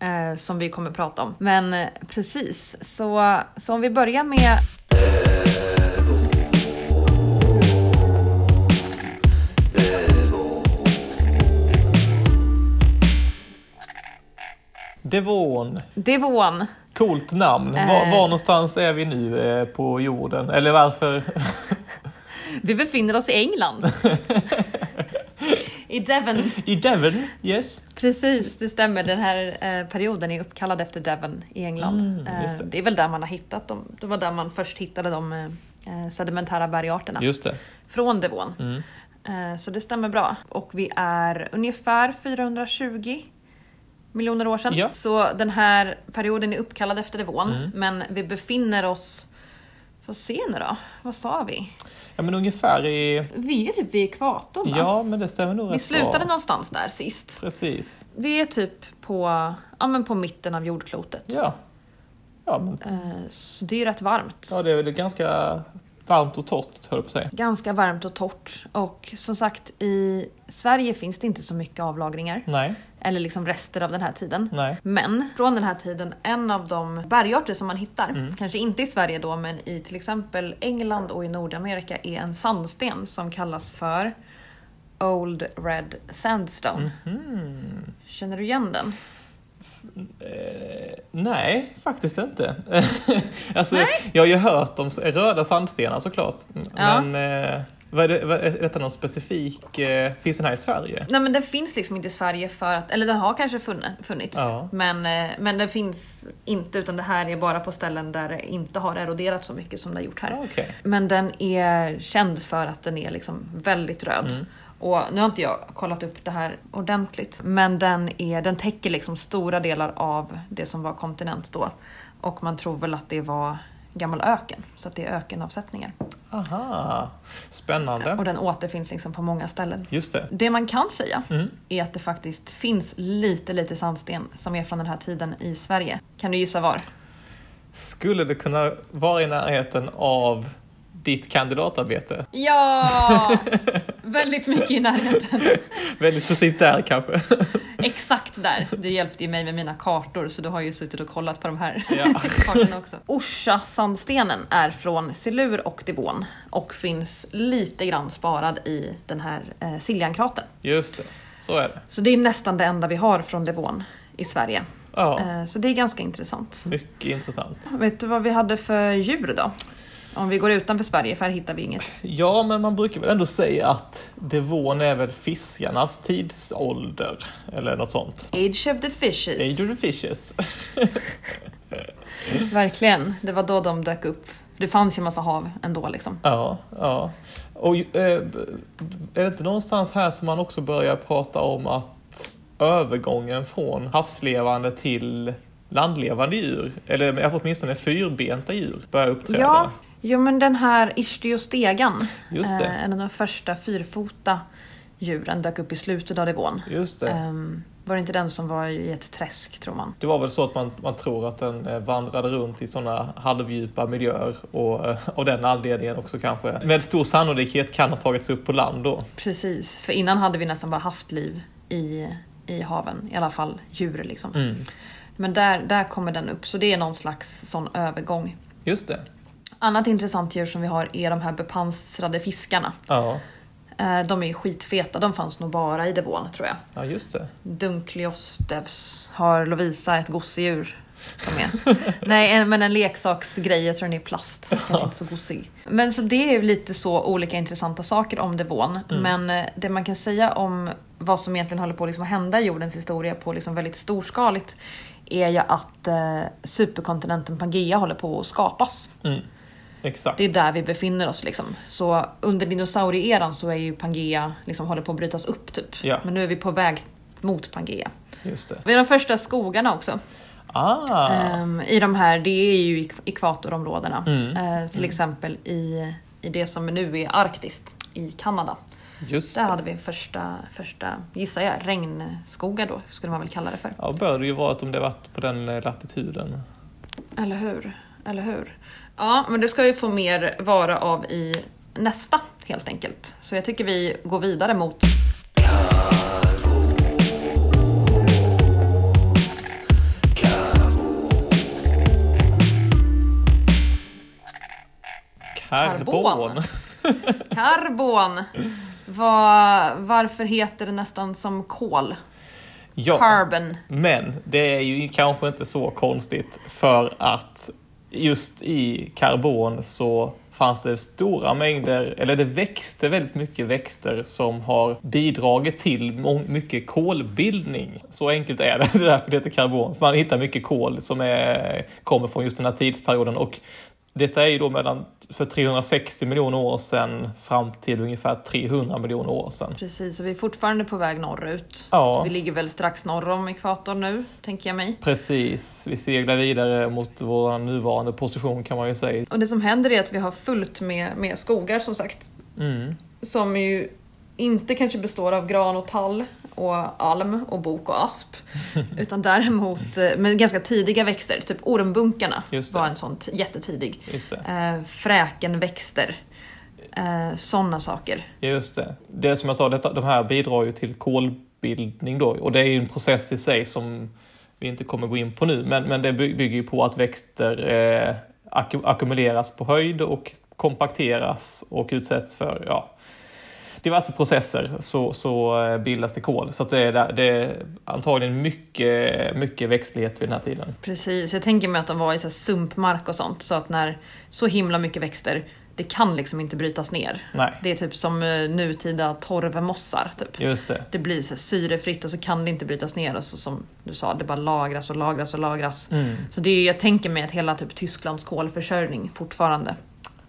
S1: Eh, som vi kommer prata om. Men eh, precis, så, så om vi börjar med...
S2: Devon.
S1: Devon.
S2: Coolt namn. Var, var någonstans är vi nu eh, på jorden? Eller varför?
S1: Vi befinner oss i England. I Devon.
S2: I Devon? Yes.
S1: Precis, det stämmer. Den här eh, perioden är uppkallad efter Devon i England.
S2: Mm, just
S1: Eh,
S2: det.
S1: det är väl där man har hittat dem. Det var där man först hittade de eh, sedimentära bergarterna.
S2: Just det.
S1: från devon.
S2: Mm.
S1: Eh, Så det stämmer bra. Och vi är ungefär 420 miljoner år sedan.
S2: Ja. Mm.
S1: Så den här perioden är uppkallad efter devon. Men vi befinner oss... Får se nu då. Vad sa vi?
S2: Ja, men ungefär i...
S1: Vi är typ vid ekvatorn va?
S2: Ja, men det stämmer nog
S1: Vi
S2: rätt
S1: slutade
S2: bra.
S1: någonstans där sist.
S2: Precis.
S1: Vi är typ på, ja, men på mitten av jordklotet.
S2: Ja. Ja, men,
S1: Eh, Så det är ju rätt varmt.
S2: ja, det är väl ganska varmt och torrt, höll jag på att säga.
S1: Ganska varmt och torrt. Och som sagt, i Sverige finns det inte så mycket avlagringar.
S2: Nej,
S1: Eller liksom rester av den här tiden.
S2: nej.
S1: Men från den här tiden, en av de bergarter som man hittar, kanske inte i Sverige då, men i till exempel England och i Nordamerika, är en sandsten som kallas för Old Red Sandstone. Känner du igen den?
S2: Eh, Nej, faktiskt inte. alltså, Jag har ju hört om s- röda sandstenar såklart.
S1: Ja.
S2: Men eh, vad är, det, vad är är detta någon specifik, eh, finns den här i Sverige?
S1: Nej men den finns liksom inte i Sverige för att, eller den har kanske funne- funnits.
S2: Ja.
S1: Men, eh, men den finns inte utan det här är bara på ställen där det inte har eroderat så mycket som det har gjort här.
S2: Ja, Ah, Okej.
S1: Men den är känd för att den är liksom väldigt röd. Och nu har inte jag kollat upp det här ordentligt, men den, är, den täcker liksom stora delar av det som var kontinent då. Och man tror väl att det var gammal öken, så att det är ökenavsättningar.
S2: Aha, spännande.
S1: Och den återfinns liksom på många ställen.
S2: Just det.
S1: Det man kan säga är att det faktiskt finns lite, lite sandsten som är från den här tiden i Sverige. Kan du gissa var?
S2: Skulle det kunna vara i närheten av ditt kandidatarbete?
S1: Ja! Väldigt mycket i närheten.
S2: Väldigt precis där kanske?
S1: Exakt där. Du hjälpte ju mig med mina kartor så du har ju suttit och kollat på de här
S2: Ja.
S1: kartorna också. Orsa-sandstenen är från Silur och Devon och finns lite grann sparad i den här eh, Siljankratern.
S2: Just det, så är det.
S1: Så det är nästan det enda vi har från Devon i Sverige.
S2: Ja,
S1: Eh, så det är ganska intressant.
S2: mycket intressant.
S1: Vet du vad vi hade för djur då? Om vi går utanför Sverige, för här hittar vi inget.
S2: Ja, men man brukar väl ändå säga att devon är väl fiskarnas tidsålder, eller något sånt.
S1: Age of the
S2: Age of
S1: fishes.
S2: the fishes.
S1: Verkligen, det var då de dök upp. Det fanns ju en massa hav ändå liksom.
S2: Ja, ja. Och eh, är det inte någonstans här som man också börjar prata om att övergången från havslevande till landlevande djur, eller åtminstone fyrbenta djur, börjar uppträda?
S1: Ja, jo, men den här Ischdiostegan,
S2: Just det.
S1: eh, en av de första fyrfota djuren, dök upp i slutet av devon.
S2: Just det.
S1: Ehm, var det inte den som var i ett träsk tror man?
S2: Det var väl så att man, man tror att den eh, vandrade runt i sådana halvdjupa miljöer och eh, av den anledningen också kanske med stor sannolikhet kan ha tagits upp på land då.
S1: Precis, för innan hade vi nästan bara haft liv i, i haven, i alla fall djur liksom.
S2: Mm.
S1: Men där, där kommer den upp, så det är någon slags sån övergång.
S2: Just det.
S1: Annat intressant djur som vi har är de här bepansrade fiskarna.
S2: Ja,
S1: Eh, De är ju skitfeta, de fanns nog bara i Devon tror jag.
S2: ja just det.
S1: Dunkleostevs har Lovisa ett gosedjur som är. Nej, en- men en leksaksgrej, jag tror den är i plast. Kanske inte så gosig. Men så det är ju lite så olika intressanta saker om Devon. Men eh, det man kan säga om vad som egentligen håller på liksom att hända i jordens historia på liksom väldigt storskaligt är ju att eh, superkontinenten Pangea håller på att skapas.
S2: Exakt.
S1: Det är där vi befinner oss liksom. Så under dinosaurieeran så är ju Pangea liksom håller på att brytas upp typ.
S2: Ja.
S1: Men nu är vi på väg mot Pangea.
S2: Just det.
S1: Vi har de första skogarna också.
S2: Ah,
S1: Ehm, I de här, det är ju ek- ekvatorområdena. Eh, till exempel i, i det som nu är Arktis i Kanada.
S2: just
S1: Där
S2: det.
S1: hade vi första, första, gissar jag, regnskogar då skulle man väl kalla det för.
S2: Ja, bör det ju vara att om det varit på den eh, latituden.
S1: Eller hur? Eller hur? Ja, men det ska vi få mer vara av i nästa helt enkelt. Så jag tycker vi går vidare mot
S2: Karbon.
S1: karbon. Va, varför heter det nästan som kol?
S2: Ja,
S1: Carbon.
S2: men det är ju kanske inte så konstigt för att just i karbon så fanns det stora mängder, eller det växte väldigt mycket växter som har bidragit till må- mycket kolbildning. Så enkelt är det, det är därför det heter karbon. För man hittar mycket kol som är, kommer från just den här tidsperioden och detta är ju då mellan för 360 miljoner år sedan fram till ungefär 300 miljoner år sedan.
S1: Precis, och vi är fortfarande på väg norrut.
S2: Ja.
S1: Vi ligger väl strax norr om ekvator nu, tänker jag mig.
S2: Precis, vi seglar vidare mot vår nuvarande position kan man ju säga.
S1: Och det som händer är att vi har fullt med, med skogar som sagt.
S2: Mm.
S1: Som ju inte kanske består av gran och tall och alm och bok och asp. utan däremot eh, med ganska tidiga växter, typ ormbunkarna
S2: Just det.
S1: var en sån t- jättetidig.
S2: Just det.
S1: Eh, fräkenväxter. Eh, Sådana saker.
S2: Just det. Det är som jag sa, detta, de här bidrar ju till kolbildning då och det är ju en process i sig som vi inte kommer gå in på nu, men, men det by- bygger ju på att växter eh, akku- ackumuleras på höjd och kompakteras och utsätts för ja, diverse processer så, så eh, bildas det kol. Så att det, är, där- det är antagligen mycket, mycket växtlighet vid den här tiden.
S1: Precis, jag tänker mig att de var i så här sumpmark och sånt så att när så himla mycket växter, det kan liksom inte brytas ner.
S2: Nej,
S1: Det är typ som eh, nutida torvmossar typ.
S2: just det.
S1: Det blir så här syrefritt och så kan det inte brytas ner och så som du sa, det bara lagras och lagras och lagras.
S2: Mm.
S1: Så det är, jag tänker mig att hela typ Tysklands kolförsörjning fortfarande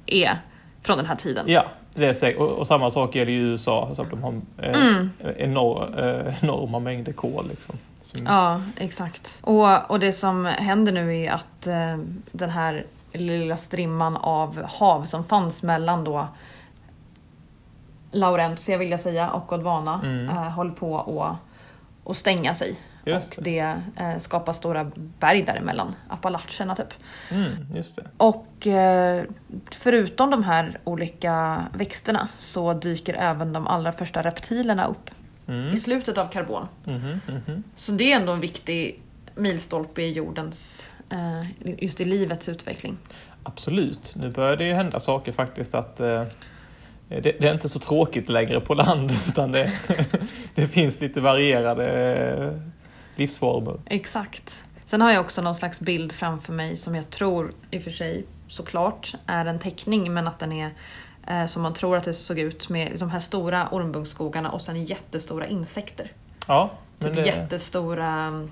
S1: är från den här tiden.
S2: Ja, det är säkert. Och, och samma sak gäller ju USA, så att de har eh,
S1: Mm.
S2: enor, eh, enorma mängder kol. Liksom, som,
S1: Ja, exakt. Och, och det som händer nu är att eh, den här lilla strimman av hav som fanns mellan då Laurentia vill jag säga och Gondwana
S2: Mm.
S1: eh, håller på att- att stänga sig.
S2: Just
S1: och det, eh, skapar stora berg däremellan, Appalacherna typ.
S2: Mm, just det.
S1: Och eh, förutom de här olika växterna så dyker även de allra första reptilerna upp
S2: Mm.
S1: i slutet av karbon.
S2: Mhm, mhm.
S1: Så det är ändå en viktig milstolpe i jordens, eh, just i livets utveckling.
S2: Absolut, nu börjar det ju hända saker faktiskt. att eh, det, det är inte så tråkigt längre på land utan det, det finns lite varierade eh, livsformer.
S1: Exakt. Sen har jag också någon slags bild framför mig som jag tror, i och för sig såklart, är en teckning men att den är eh, som man tror att det såg ut med de här stora ormbunksskogarna och sen jättestora insekter.
S2: Ja, men
S1: Typ
S2: det,
S1: jättestora mm,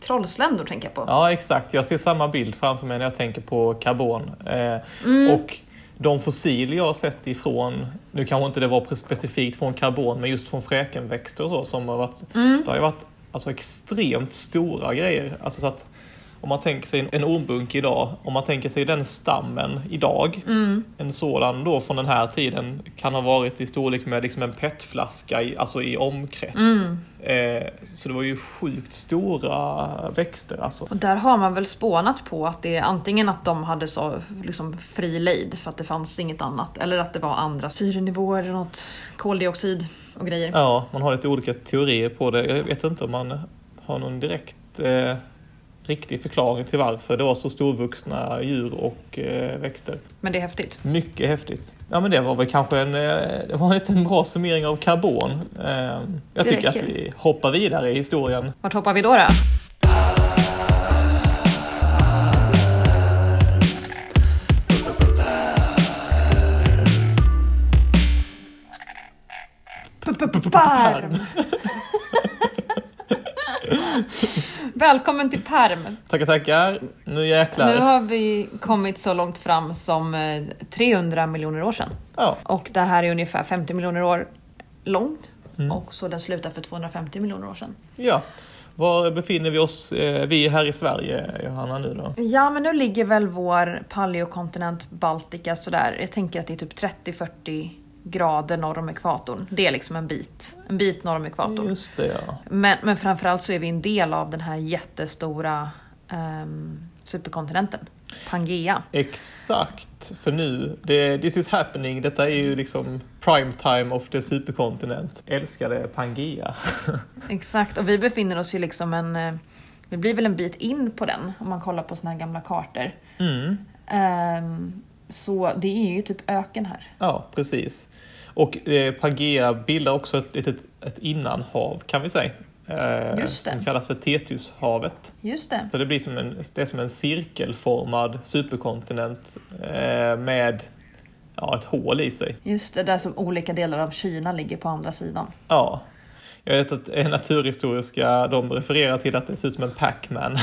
S1: trollsländor tänker jag på.
S2: ja, exakt. Jag ser samma bild framför mig när jag tänker på karbon. Eh, Och de fossil jag har sett ifrån, nu kanske inte det var pre- specifikt från karbon, men just från fräkenväxter och så, som har varit, det har ju varit alltså, extremt stora grejer. Alltså, så att, om man tänker sig en- en ormbunk idag, om man tänker sig den stammen idag, en sådan då från den här tiden kan ha varit i storlek med liksom en petflaska i, alltså i omkrets. Eh, så det var ju sjukt stora växter alltså.
S1: Och där har man väl spånat på att det är antingen att de hade så liksom fri lejd för att det fanns inget annat eller att det var andra syrenivåer och något koldioxid och grejer.
S2: Ja, man har lite olika teorier på det. Jag vet inte om man har någon direkt eh, riktig förklaring till varför det var så storvuxna djur och eh, växter.
S1: Men det är häftigt.
S2: Mycket häftigt. Ja men det var väl kanske en, eh, det var en liten bra summering av karbon. Eh, jag
S1: Det
S2: tycker att
S1: räcker.
S2: vi hoppar vidare i historien.
S1: Vart hoppar vi då? då? Perm! Välkommen till Perm!
S2: Tackar tackar. Nu jäklar.
S1: Nu har vi kommit så långt fram som eh, 300 miljoner år sedan.
S2: Ja,
S1: Och det här är ungefär 50 miljoner år långt. Och så den slutar för 250 miljoner år sedan.
S2: ja. Var befinner vi oss? Eh, vi är här i Sverige Johanna nu då.
S1: Ja, men nu ligger väl vår paleokontinent Baltica sådär. Jag tänker att det är typ 30-40 grader norr om ekvatorn. Det är liksom en bit, en bit norr om ekvatorn.
S2: Just det ja.
S1: Men, men framförallt så är vi en del av den här jättestora ehm, superkontinenten, Pangea.
S2: Exakt, för nu, det, this is happening, detta är ju liksom prime time of the superkontinent. Älskade Pangea.
S1: Exakt, och vi befinner oss ju liksom en... eh, Vi blir väl en bit in på den om man kollar på såna här gamla kartor.
S2: Mm.
S1: Ehm, så det är ju typ öken här.
S2: Ja, precis. Och eh, Pangea bildar också ett litet ett innanhav kan vi säga. Eh,
S1: Just det.
S2: som kallas för Tethyshavet.
S1: Just det.
S2: Så det blir som en, det är som en cirkelformad superkontinent eh, med ja, ett hål i sig.
S1: Just det, där som olika delar av Kina ligger på andra sidan.
S2: Ja. Jag vet att eh, naturhistoriska, de refererar till att det ser ut som en Pac-Man.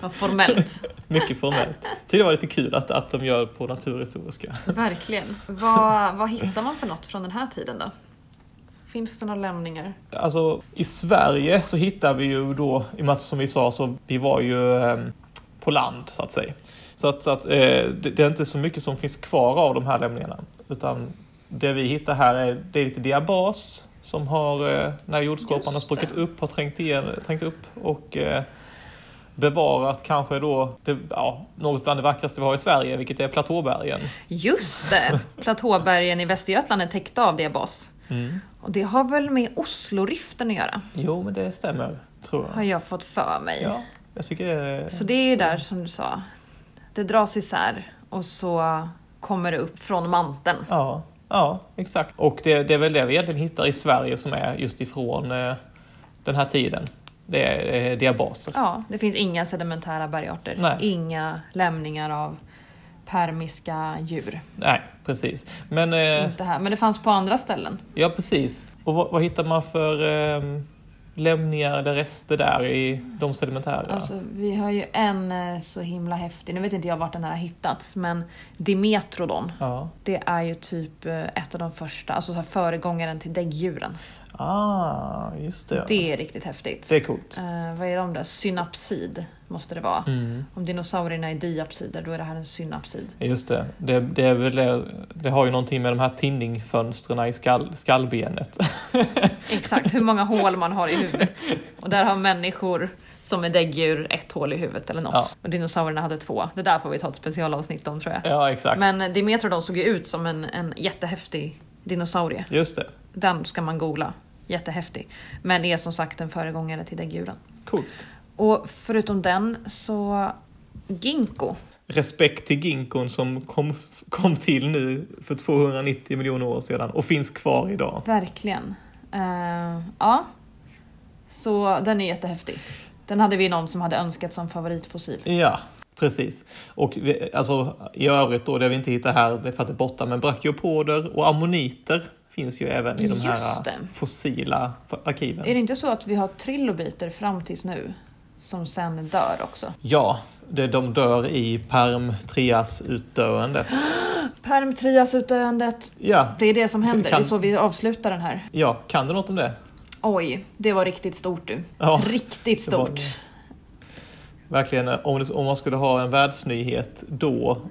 S1: Vad formellt.
S2: Mycket formellt. Tyckte det var lite kul att, att de gör på naturhistoriska.
S1: Verkligen. Vad, vad hittar man för något från den här tiden då? Finns det några lämningar?
S2: Alltså, i Sverige så hittar vi ju då, i och med att som vi sa så vi var ju eh, på land så att säga. Så att, så att eh, det, det är inte så mycket som finns kvar av de här lämningarna. Utan det vi hittar här är, det är lite diabas som har, eh, när jordskorpan har
S1: Just
S2: spruckit
S1: det.
S2: upp, har trängt, igen, trängt upp och eh, bevarat kanske då det, ja, något bland det vackraste vi har i Sverige, vilket är platåbergen.
S1: Just det! Platåbergen i Västergötland är täckta av diabas. Och det har väl med Osloriften att göra,
S2: Jo, men det stämmer, tror jag.
S1: har jag fått för mig.
S2: Ja, jag tycker det är...
S1: Så det är ju där som du sa, det dras isär och så kommer det upp från manteln.
S2: Ja,
S4: Ja, exakt. Och det, det är väl det vi egentligen hittar i Sverige som är just ifrån eh, den här tiden. Det är eh, diabaser.
S1: Ja, det finns inga sedimentära bergarter.
S4: Nej.
S1: Inga lämningar av permiska djur.
S4: Nej, precis. Men, eh,
S1: Inte här. Men det fanns på andra ställen.
S4: ja precis. Och vad, vad hittar man för eh, lämningar eller rester där i de sedimentära?
S1: Alltså, vi har ju en eh, så himla häftig, nu vet inte jag vart den här har hittats, men Dimetrodon.
S4: Ja.
S1: Det är ju typ eh, ett av de första, alltså så här föregångaren till däggdjuren.
S4: Ah, just det.
S1: Det är riktigt häftigt.
S4: Det är coolt.
S1: Eh, vad är de där? Synapsid måste det vara.
S4: Mm.
S1: Om dinosaurierna är diapsider, då är det här en synapsid.
S4: Just det. Det, det, är väl det, det har ju någonting med de här tinningfönstren i skall, skallbenet.
S1: Exakt, hur många hål man har i huvudet. Och där har människor som är däggdjur ett hål i huvudet eller något.
S4: Ja.
S1: Och dinosaurierna hade två. Det där får vi ta ett specialavsnitt om tror jag.
S4: ja, exakt.
S1: Men Dimetrodon såg ju ut som en, en jättehäftig dinosaurie.
S4: Just det.
S1: Den ska man googla. Jättehäftig. Men är som sagt en föregångare till däggdjuren.
S4: Coolt.
S1: Och förutom den så Ginkgo.
S4: Respekt till ginkgon som kom, kom till nu för 290 miljoner år sedan och finns kvar idag.
S1: Verkligen. Eh, ja. Så den är jättehäftig. Den hade vi någon som hade önskat som favoritfossil.
S4: Ja, precis. Och vi, alltså, i övrigt då, det vi inte hittar här, det är för att det är borta, men brachiopoder och ammoniter finns ju även i de här
S1: Just det.
S4: fossila f- arkiven.
S1: Är det inte så att vi har trilobiter fram tills nu? Som sen dör också.
S4: Ja, det, de dör i perm-trias-utdöendet.
S1: Perm-triasutdöendet.
S4: Ja,
S1: Det är det som händer.
S4: Kan-
S1: Det är så vi avslutar den här.
S4: ja, kan du något om det?
S1: Oj, det var riktigt stort du.
S4: Ja,
S1: Riktigt
S4: det var-
S1: stort.
S4: Verkligen, eh, om, det, om man skulle ha en världsnyhet då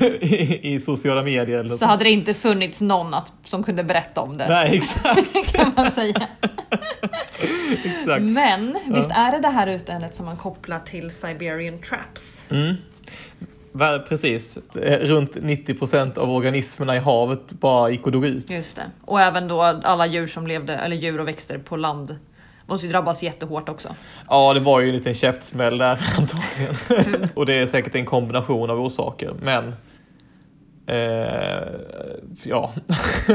S4: i, i sociala medier. Eller
S1: Så hade det inte funnits någon att, som kunde berätta om det.
S4: Nej, exakt.
S1: Kan man säga.
S4: exakt.
S1: Men visst är det det här utdöendet som man kopplar till Siberian Traps?
S4: Vär- Precis. Eh, Runt 90 procent av organismerna i havet bara gick och dog ut.
S1: Just det. Och även då alla djur som levde, eller djur och växter på land måste ju drabbas jättehårt också.
S4: Ja, det var ju en liten käftsmäll där antagligen. och det är säkert en kombination av orsaker, men... Eh, ja.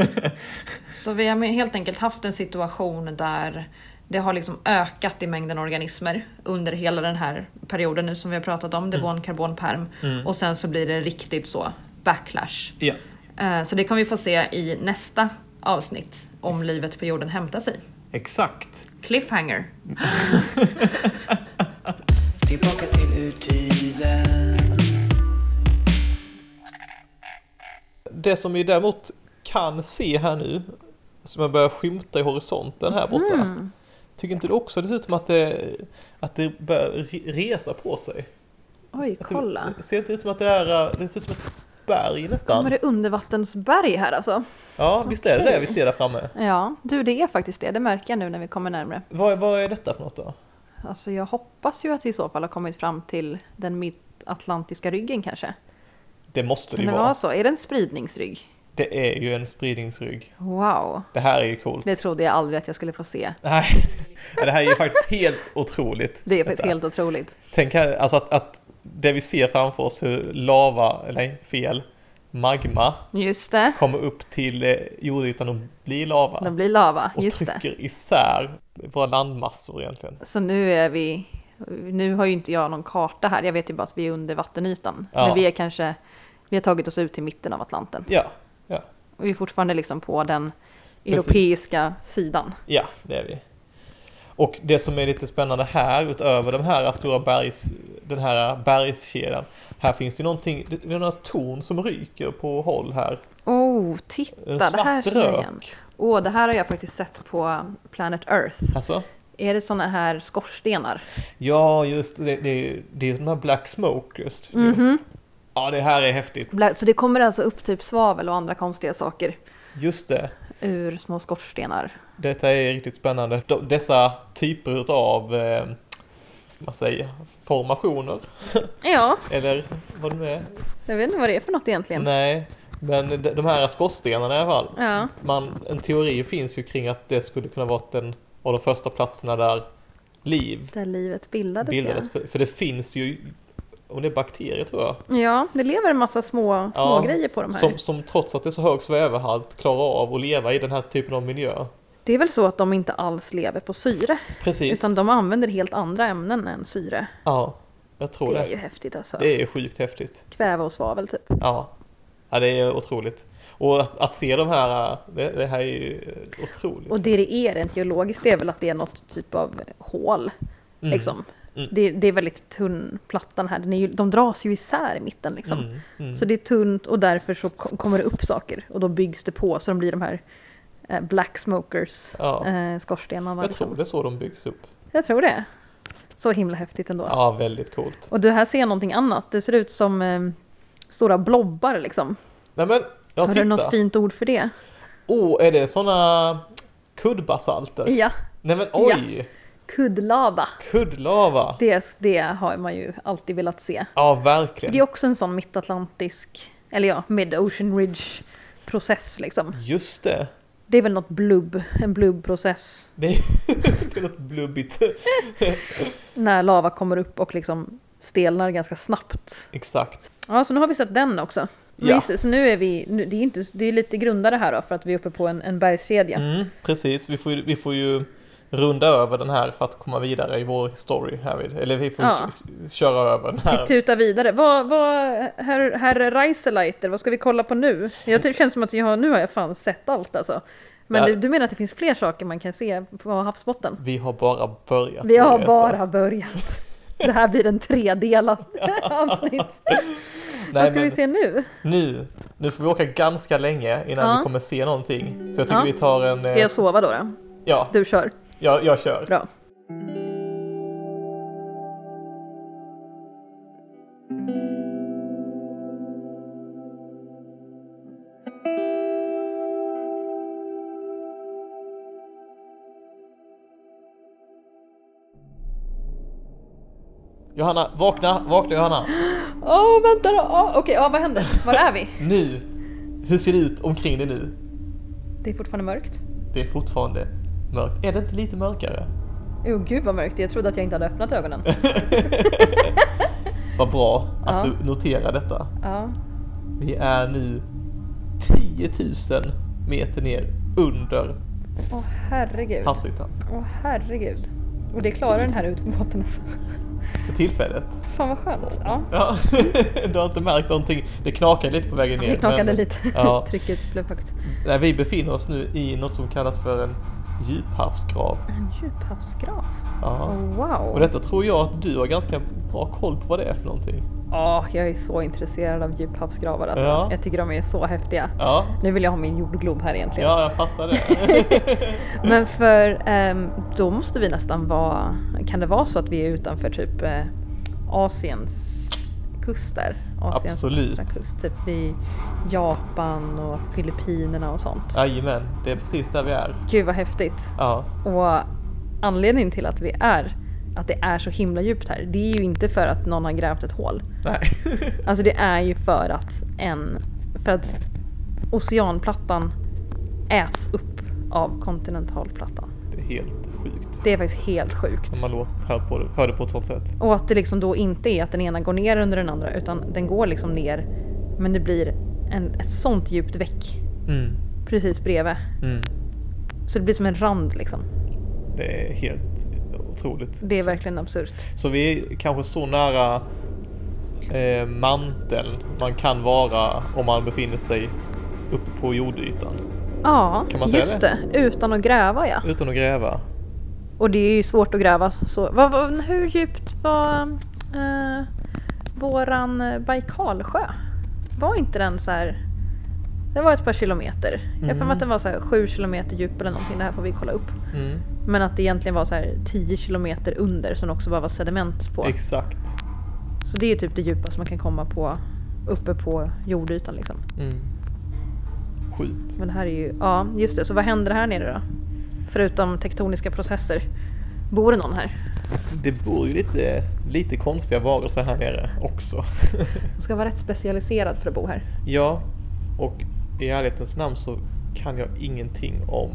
S1: Så vi har med- helt enkelt haft en situation där det har liksom ökat i mängden organismer under hela den här perioden nu som vi har pratat om, devon, karbon, perm. Och sen så blir det riktigt så backlash.
S4: ja.
S1: Eh, Så det kommer vi få se i nästa avsnitt om livet på jorden hämtar sig.
S4: Exakt.
S1: Cliffhanger.
S3: Tillbaka till urtiden.
S2: Det som vi däremot kan se här nu, som jag börjar skymta i horisonten här borta.
S5: Mm.
S2: Tycker inte du också det ser ut som att det, att det börjar re- resa på sig?
S1: Oj,
S2: Att Det, ser inte ut som att det är, det ser ut som ett berg nästan?
S5: Kommer det undervattensberg här alltså?
S2: Ja, visst är det det vi ser där framme?
S5: Ja, du det är faktiskt det. Det märker jag nu när vi kommer närmre.
S2: Vad, vad är detta för något då?
S5: Alltså jag hoppas ju att vi i så fall har kommit fram till den mittatlantiska ryggen kanske.
S2: Det måste det
S5: Kan
S2: ju
S5: det vara
S2: vara.
S5: så? Är det en spridningsrygg?
S2: Det är ju en spridningsrygg.
S5: Wow,
S2: Det här är ju coolt.
S5: det trodde jag aldrig att jag skulle få se.
S2: Nej, Ja, det här är ju faktiskt helt otroligt.
S5: Det är
S2: Detta.
S5: faktiskt helt otroligt.
S2: Tänk här, alltså att, att det vi ser framför oss hur lava, eller nej, fel, magma
S5: Just det,
S2: kommer upp till eh, jordytan och blir lava.
S5: de blir lava.
S2: Och
S5: Just det.
S2: trycker isär våra landmassor egentligen.
S5: Så nu är vi... Nu har ju inte jag någon karta här. Jag vet ju bara att vi är under vattenytan.
S2: Ja.
S5: Men vi är kanske... Vi har tagit oss ut till mitten av Atlanten.
S2: Ja, ja,
S5: Och vi är fortfarande liksom på den
S2: Precis.
S5: europeiska sidan.
S2: ja, det är vi. Och det som är lite spännande här, utöver de här stora bergs, den här bergskedjan, här finns det ju någonting, det det är några torn som ryker på håll här.
S5: Oh, titta!
S2: En
S5: Det här
S2: svart
S5: känner jag igen.
S2: rök.
S5: Åh, det här har jag faktiskt sett på Planet Earth.
S2: Alltså,
S5: Är det såna här skorstenar?
S2: ja just det, det, är ju- det är de här black smokers.
S5: Mhm.
S2: Ja, det här är häftigt.
S5: Bla- Så det kommer alltså upp typ svavel och andra konstiga saker
S2: Just det.
S5: ur små skorstenar.
S2: Detta är riktigt spännande. De- Dessa typer av, eh, vad ska man säga, formationer
S5: Ja,
S2: eller vad det nu är.
S5: jag vet inte vad det är för något egentligen.
S2: Nej, men de de här skorstenarna i alla fall.
S5: Ja.
S2: Man, en teori finns ju kring att det skulle kunna varit en av de första platserna där liv
S5: Där livet bildades,
S2: bildades. För, för det finns ju om det är bakterier tror jag.
S1: Ja, det lever en massa små, små
S2: Ja,
S1: grejer på de här.
S2: Som, som trots att det är så hög svävehalt klarar av att leva i den här typen av miljö.
S1: Det är väl så att de inte alls lever på syre,
S2: Precis.
S1: utan de använder helt andra ämnen än syre.
S2: Ja, jag
S1: Det
S2: tror det.
S1: är ju häftigt alltså.
S2: Det är ju sjukt häftigt.
S1: Kväve och svavel typ.
S2: Ja. ja, det är otroligt. Och att, att se de här, äh, det, det här är ju äh, otroligt.
S1: Och det det är rent geologiskt det är väl att det är något typ av hål.
S2: Mm.
S1: Liksom. Det, det är väldigt tunn plattan här, den är ju, de dras ju isär i mitten liksom.
S2: Mm, mm.
S1: Så det är tunt och därför så ko- kommer det upp saker och då byggs det på så de blir de här eh, black smokers
S2: Ja.
S1: eh, skorstenarna.
S2: Jag tror det är så de byggs upp.
S1: jag tror det. Så himla häftigt ändå.
S2: Ja, väldigt coolt.
S1: Och du här ser jag någonting annat, det ser ut som eh, stora blobbar liksom.
S2: Nej men, jag
S1: Har du något
S2: tittar.
S1: fint ord för det?
S2: Åh, oh, är det såna kuddbasalter?
S1: Ja,
S2: Nej men oj!
S1: kuddlava.
S2: Kuddlava!
S1: Det, det har man ju alltid velat se.
S2: Ja,
S1: Det är
S2: verkligen.
S1: också en sån mittatlantisk, eller ja, mid-ocean ridge process liksom.
S2: Just det.
S1: Det är väl något blubb, en blubbprocess.
S2: Det är, det är något blubbigt.
S1: När lava kommer upp och liksom stelnar ganska snabbt.
S2: Exakt.
S1: Ja, så nu har vi sett den också. Men
S2: Ja.
S1: Just, det, så nu är vi, nu, det är inte, det är lite grundare här då för att vi är uppe på en, en bergskedja.
S2: Mm, precis, vi får, ju, vi får ju runda över den här för att komma vidare i vår story härvid. Eller vi får
S1: Ja.
S2: k- köra över den här.
S1: Tuta vidare. Vad, vad, herr, herr Reiseleiter, vad ska vi kolla på nu? Jag, det känns som att jag, har- nu har jag fan sett allt alltså. Men
S2: Ja.
S1: du, du menar att det finns fler saker man kan se på havsbotten?
S2: Vi har bara börjat
S1: Vi
S2: vår
S1: har
S2: resa.
S1: bara börjat. Det här blir en tredelad avsnitt. Vad
S2: Nej,
S1: ska vi
S2: men
S1: se nu?
S2: nu, nu får vi åka ganska länge innan
S1: Ja.
S2: vi kommer se någonting. Så jag tycker
S1: Ja.
S2: vi tar en...
S1: Ska
S2: eh,
S1: jag sova då? då?
S2: Ja,
S1: Du kör.
S2: jag, jag kör.
S1: Bra.
S2: Johanna, vakna, vakna Johanna!
S1: Åh, vänta då! Åh, Okej, ja, vad händer? Var är vi?
S2: Nu! Hur ser det ut omkring dig nu?
S1: Det är fortfarande mörkt.
S2: Det är fortfarande mörkt. Är det inte lite mörkare?
S1: Åh gud vad mörkt, jag trodde att jag inte hade öppnat ögonen.
S2: Vad bra att
S1: Ja.
S2: du noterar detta.
S1: Ja.
S2: Vi är nu 10 000 meter ner under
S1: Åh herregud. Åh
S2: havsytan
S1: herregud. Och det klarar den här utbåten alltså.
S2: för tillfället.
S1: Fan vad skönt. Ja.
S2: Ja, du har inte märkt någonting. Det knakade lite på vägen ner.
S1: Det knakade
S2: men-
S1: lite.
S2: Ja,
S1: Trycket blev högt.
S2: nej, vi befinner oss nu i något som kallas för en djuphavsgrav.
S1: En djuphavsgrav.
S2: Ja.
S1: Åh,
S2: Och
S1: Wow.
S2: detta tror jag att du har ganska bra koll på vad det är för någonting.
S1: Ja, jag är så intresserad av djuphavsgravar alltså.
S2: Ja.
S1: Jag tycker de är så häftiga.
S2: Ja,
S1: Nu vill jag ha min jordglob här egentligen.
S2: ja jag fattar det.
S1: Men för ehm, då måste vi nästan vara, kan det vara så att vi är utanför typ eh, Asiens kuster? Asiens
S2: Absolut.
S1: östra Kust, typ vid Japan och Filippinerna och sånt.
S2: Jajamän, det är precis där vi är.
S1: Gud vad häftigt.
S2: Ja,
S1: Och anledningen till att vi är att det är så himla djupt här, det är ju inte för att någon har grävt ett hål.
S2: nej.
S1: Alltså det är ju för att en, för att oceanplattan äts upp av kontinentalplattan.
S2: Det är helt sjukt.
S1: Det är faktiskt helt sjukt.
S2: När man låt, hör, på, det- hör det på ett sånt sätt.
S1: Och att det liksom då inte är att den ena går ner under den andra utan den går liksom ner men det blir en, ett sånt djupt väck
S2: Mm,
S1: precis bredvid.
S2: mm.
S1: Så det blir som en rand liksom.
S2: Det är helt otroligt.
S1: Det är
S2: så,
S1: verkligen absurt.
S2: så vi är kanske så nära eh, manteln man kan vara om man befinner sig uppe på jordytan.
S1: Ja,
S2: Kan man säga
S1: just det. Utan att gräva ja.
S2: Utan att gräva.
S1: Och det är ju svårt att gräva så. Vad, vad, hur djupt var eh, våran eh, Baikalsjö? Var inte den så här... Den var ett par kilometer. Jag har för mig att den var så här sju kilometer djup eller någonting. Det här får vi kolla upp.
S2: Mm,
S1: Men att det egentligen var så här 10 kilometer under som det också bara var sediment på.
S2: exakt.
S1: Så det är typ det djupaste man kan komma på uppe på jordytan liksom.
S2: Mm. Sjukt.
S1: Men det här är ju, ja just det, så vad händer här nere då? Förutom tektoniska processer. Bor det någon här?
S2: Det bor ju lite, lite konstiga varelser här nere också.
S1: Man ska vara rätt specialiserad för att bo här.
S2: Ja, och i ärlighetens namn så kan jag ingenting om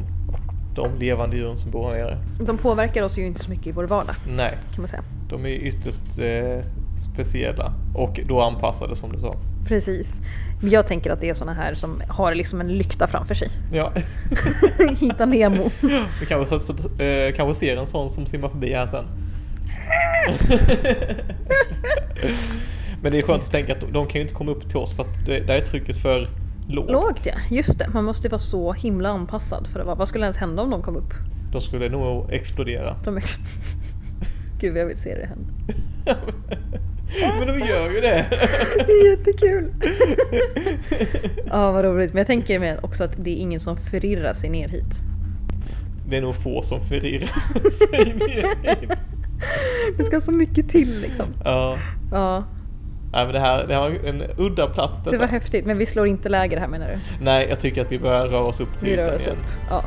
S2: de levande djuren som bor här nere. Mm.
S1: De påverkar oss ju inte så mycket i vår vardag
S2: Nej,
S1: kan man säga.
S2: de är ju ytterst eh, speciella och då anpassade som du sa.
S1: Precis. Jag tänker att det är såna här som har liksom en lykta framför sig.
S2: Ja,
S1: Hitta Nemo.
S2: vi kanske, så, så, eh, kanske ser en sån som simmar förbi här sen. Men det är skönt att tänka att de- de kan ju inte komma upp till oss för att det, där är trycket för lågt.
S1: Lågt ja, just det. Man måste ju vara så himla anpassad för att vara. Vad skulle ens hända om de kom upp?
S2: De skulle nog explodera.
S1: De ex- Gud jag vill se det hända.
S2: Men de gör ju det!
S1: Det är jättekul! ja vad roligt. Men jag tänker med också att det är ingen som förirrar sig ner hit.
S2: Det är nog få som förirrar sig ner hit.
S1: Det ska så mycket till liksom.
S2: Ja.
S1: Ja,
S2: Nej, men det här, det här var en udda plats detta.
S1: det var häftigt. Men vi slår inte läger här menar du?
S2: Nej, jag tycker att vi börjar röra oss upp till
S1: Vi rör
S2: ytan
S1: oss
S2: igen.
S1: upp. Ja,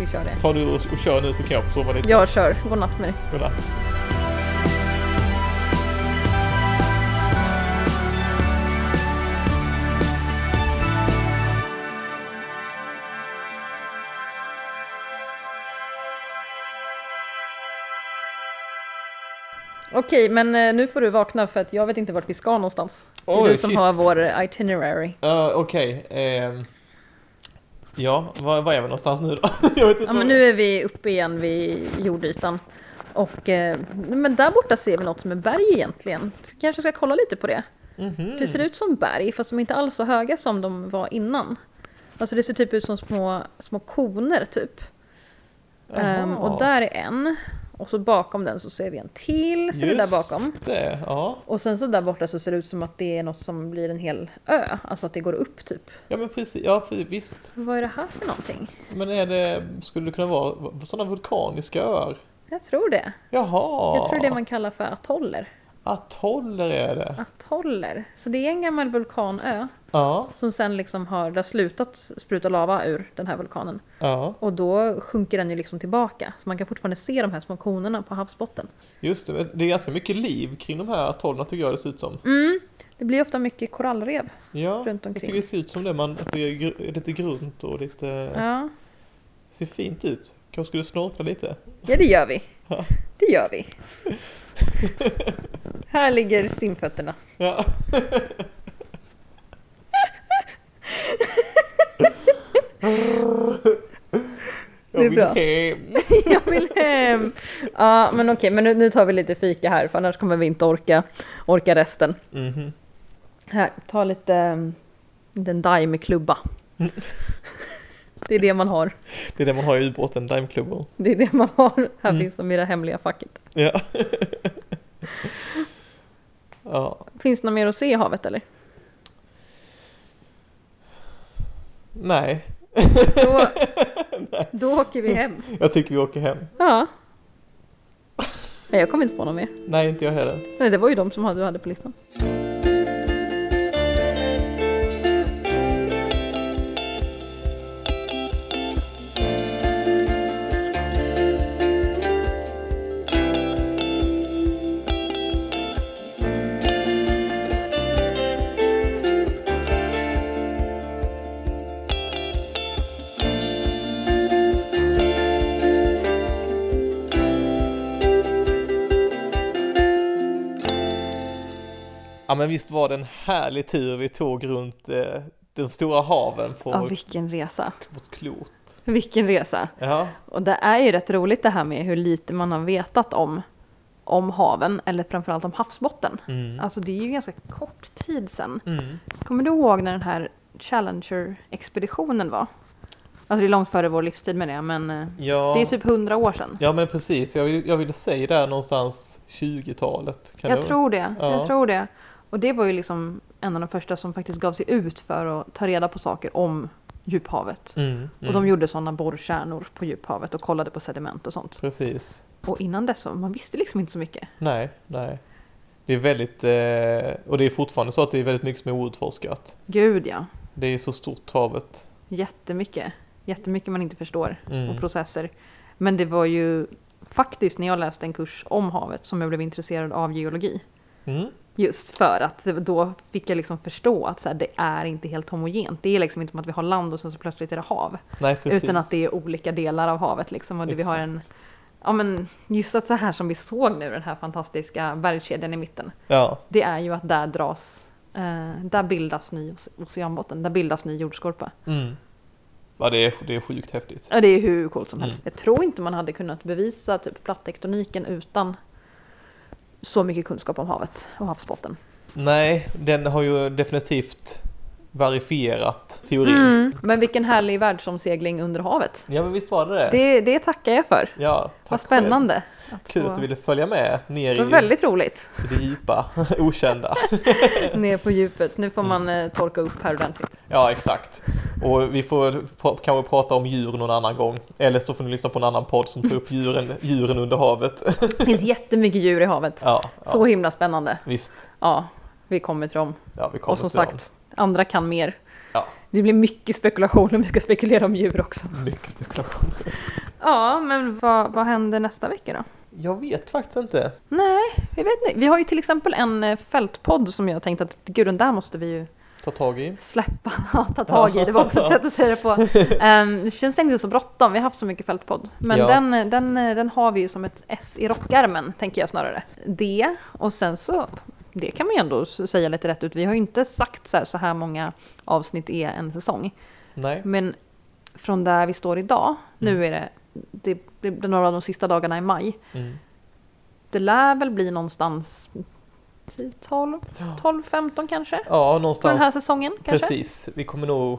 S1: vi kör det.
S2: Ta du och, och kör nu så kan jag få sova lite.
S1: Jag kör. Godnatt med dig.
S2: Godnatt.
S1: Okej, men eh, nu får du vakna för att jag vet inte vart vi ska någonstans. Det är
S2: Oj,
S1: du som
S2: shit.
S1: har vår itinerary.
S2: Ja, Okej. ehm. ja, var, var är vi någonstans nu då? jag vet inte.
S1: Ja, men
S2: var-
S1: nu är vi uppe igen vid jordytan. Och, eh, men där borta ser vi något som är berg egentligen. Kanske ska kolla lite på det.
S2: Mhm.
S1: Det ser ut som berg fast de är inte alls så höga som de var innan. Alltså det ser typ ut som små, små koner typ.
S2: Jaha.
S1: Ehm, och där är en. Och så bakom den så ser vi en till som är där bakom.
S2: det, ja.
S1: Och sen så där borta så ser det ut som att det är något som blir en hel ö. Alltså att det går upp typ.
S2: Ja men precis, ja precis, visst.
S1: Vad är det här för någonting?
S2: Men är det, skulle det kunna vara sådana vulkaniska öar?
S1: Jag tror det.
S2: Jaha!
S1: Jag tror det är det man kallar för atoller.
S2: Atoller är det.
S1: Atoller. Så det är en gammal vulkanö
S2: Ja,
S1: som sen liksom har, det har slutat spruta lava ur den här vulkanen.
S2: ja.
S1: Och då sjunker den ju liksom tillbaka. Så man kan fortfarande se de här små konerna på havsbotten.
S2: Just det, men det är ganska mycket liv kring de här atollerna tycker jag det ser ut som.
S1: Mm. Det blir ofta mycket korallrev.
S2: Ja,
S1: Runt
S2: jag
S1: omkring.
S2: tycker det ser ut som det, man, att det är gr- lite grunt och lite,
S1: Ja.
S2: ser fint ut. Kanske skulle snorkla lite.
S1: ja, det gör vi.
S2: Ja.
S1: Det gör vi. Här ligger simfötterna.
S2: Ja.
S1: Det är
S2: jag vill
S1: bra.
S2: hem.
S1: Jag vill hem! Ja, men okej, men nu, nu tar vi lite fika här för annars kommer vi inte orka, orka resten.
S2: Mhm.
S1: Här, ta lite mm, den daimklubba. Mm. Det är det man har.
S2: Det är det man har i ubåten, dimeklubbor.
S1: Det är det man har. Här finns de i det hemliga facket.
S2: Ja. ja.
S1: Finns det något mer att se i havet eller?
S2: Nej,
S1: Då, då åker vi hem.
S2: jag tycker vi åker hem.
S1: Ja. Nej, jag kommer inte på något mer.
S2: Nej, inte jag heller.
S1: Nej, det var ju de som du hade på listan.
S2: Ja, men visst var det en härlig tur vi tog runt eh, de stora haven på
S1: Ja, vilken resa.
S2: vårt klot.
S1: Vilken resa.
S2: Ja,
S1: Och det är ju rätt roligt det här med hur lite man har vetat om, om haven, eller framförallt om havsbotten.
S2: Mm.
S1: Alltså det är ju ganska kort tid sedan.
S2: mm.
S1: Kommer du ihåg när den här Challenger-expeditionen var? Alltså det är långt före vår livstid med det, men eh,
S2: ja.
S1: det är typ hundra år sedan.
S2: Ja men precis, jag ville, jag ville säga där någonstans 20-talet. Kan
S1: Jag
S2: det-
S1: tror det,
S2: Ja.
S1: jag tror det. Och det var ju liksom en av de första som faktiskt gav sig ut för att ta reda på saker om djuphavet.
S2: Mm, mm,
S1: Och de gjorde sådana borrkärnor på djuphavet och kollade på sediment och sånt.
S2: Precis.
S1: Och innan dess så, man visste liksom inte så mycket.
S2: Nej, nej. Det är väldigt, eh, och det är fortfarande så att det är väldigt mycket som är outforskat.
S1: Gud ja,
S2: Det är så stort havet.
S1: jättemycket. Jättemycket man inte förstår
S2: Mm.
S1: och processer. Men det var ju faktiskt när jag läste en kurs om havet som jag blev intresserad av geologi.
S2: Mm,
S1: Just för att det- då fick jag liksom förstå att så här, det är inte helt homogent. Det är liksom inte som att vi har land och sen så plötsligt är det hav.
S2: nej precis.
S1: Utan att det är olika delar av havet liksom. Och det, vi har en,
S2: Exakt.
S1: ja men just att så här som vi såg nu, den här fantastiska bergskedjan i mitten.
S2: Ja,
S1: Det är ju att där dras, eh, där bildas ny oce- oceanbotten, där bildas ny jordskorpa.
S2: mm. Ja, det är, det är sjukt häftigt.
S1: Ja, det är hur coolt som helst.
S2: Mm.
S1: Jag tror inte man hade kunnat bevisa typ plattektoniken utan så mycket kunskap om havet och havsbotten.
S2: Nej, den har ju definitivt verifierat teorin.
S1: Mm. Men vilken härlig världsomsegling under havet.
S2: Ja, men visst var det det?
S1: Det, det tackar jag för.
S2: Ja, tack
S1: Vad
S2: själv.
S1: spännande.
S2: Kul att du
S1: få-
S2: ville följa med ner i
S1: Det var väldigt roligt
S2: i det djupa, okända.
S1: ner på djupet. Nu får man eh, torka upp här ordentligt.
S2: Ja, exakt. Och vi får pra- kanske prata om djur någon annan gång. Eller så får ni lyssna på en annan podd som tar upp djuren, djuren under havet.
S1: Det finns jättemycket djur i havet.
S2: Ja, ja
S1: Så himla spännande.
S2: visst.
S1: Ja, vi kommer till dem.
S2: Ja, vi kommer
S1: Och som
S2: till dem.
S1: sagt, andra kan mer.
S2: Ja.
S1: Det blir mycket spekulation om vi ska spekulera om djur också.
S2: Mycket spekulation.
S1: Ja, men vad, vad händer nästa vecka då?
S2: Jag vet faktiskt inte.
S1: Nej, vi vet inte. Vi har ju till exempel en eh, fältpodd som jag tänkt att gud, den där måste vi ju
S2: Ta tag i.
S1: släppa och ta tag i. Det var också ett sätt att säga det på. Ehm, det känns inte så bråttom, vi har haft så mycket fältpodd. Men
S2: Ja.
S1: den, eh, den, den har vi ju som ett S i rockärmen, tänker jag snarare. Det, och sen så, det kan man ju ändå s- säga lite rätt ut. Vi har ju inte sagt så här, så här många avsnitt är en säsong.
S2: Nej.
S1: Men från där vi står idag, nu är det, det, det, det är några av de sista dagarna i maj.
S2: Mm.
S1: Det lär väl bli någonstans 10, 12, 12, 15 kanske?
S2: Ja,
S1: På den här
S2: någonstans.
S1: säsongen kanske?
S2: Precis. Vi kommer nog...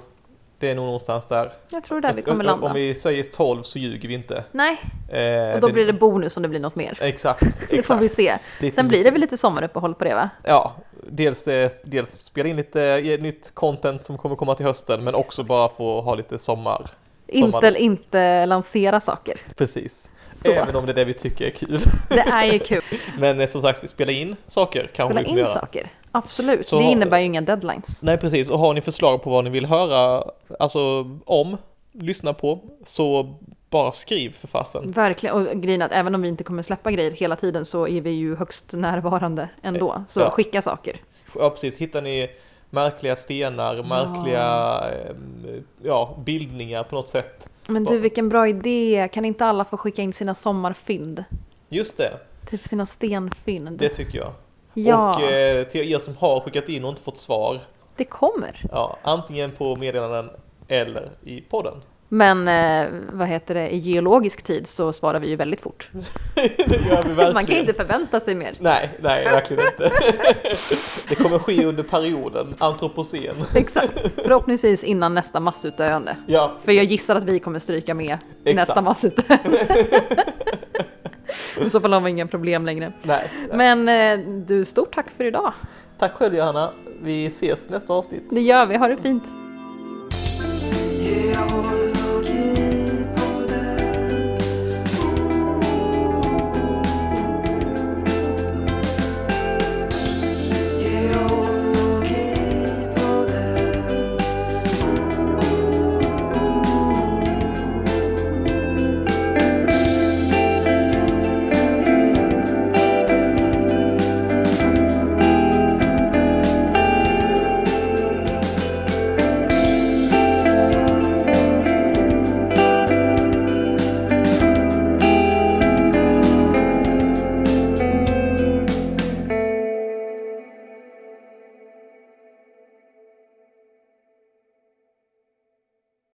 S2: Det är nog någonstans där.
S1: Jag tror det är där vi kommer
S2: Alltså, Om-
S1: landa.
S2: Om vi säger 12 så ljuger vi inte.
S1: Nej,
S2: Eh,
S1: och då blir det bonus om det blir något mer.
S2: Exakt.
S1: Det får vi
S2: exakt.
S1: se.
S2: Lite-
S1: Sen blir det väl lite sommaruppehåll på det va?
S2: Ja, dels, eh, dels spela in lite eh, nytt content som kommer komma till hösten men också bara få ha lite sommar. sommar.
S1: Inte, inte lansera saker.
S2: Precis.
S1: Så.
S2: Även om det är det vi tycker är kul.
S1: Det är ju kul.
S2: Men eh, som sagt, spela in saker kanske
S1: Spela
S2: vi kommer
S1: in
S2: göra.
S1: saker. Absolut.
S2: Så-
S1: Det innebär ju inga deadlines.
S2: Nej, precis. Och har ni förslag på vad ni vill höra, alltså om, lyssna på, så bara skriv för fasen.
S1: Verkligen. Och grejen är att även om vi inte kommer släppa grejer hela tiden så är vi ju högst närvarande ändå. Så
S2: Eh, Ja.
S1: skicka saker.
S2: Ja, precis. Hittar ni märkliga stenar, märkliga eh, ja, bildningar på något sätt.
S1: Men du vilken bra idé. Kan inte alla få skicka in sina sommarfynd?
S2: Just det,
S1: Typ sina stenfynd.
S2: det tycker jag.
S1: ja,
S2: Och eh, till er som har skickat in och inte fått svar,
S1: det kommer.
S2: ja, antingen på meddelanden eller i podden.
S1: Men eh, vad heter det, i geologisk tid så svarar vi ju väldigt fort.
S2: Det gör vi verkligen.
S1: Man kan inte förvänta sig mer.
S2: Nej, nej, verkligen inte. Det kommer ske under perioden, antropocen.
S1: Exakt. Förhoppningsvis innan nästa massutdöende.
S2: Ja,
S1: För jag gissar att vi kommer stryka med i
S2: Exakt.
S1: nästa massutdöende. I så fall har vi inga problem längre.
S2: nej. nej.
S1: Men eh, du, stort tack för idag.
S2: Tack själv Johanna. Vi ses nästa avsnitt.
S1: Det gör vi, ha det fint.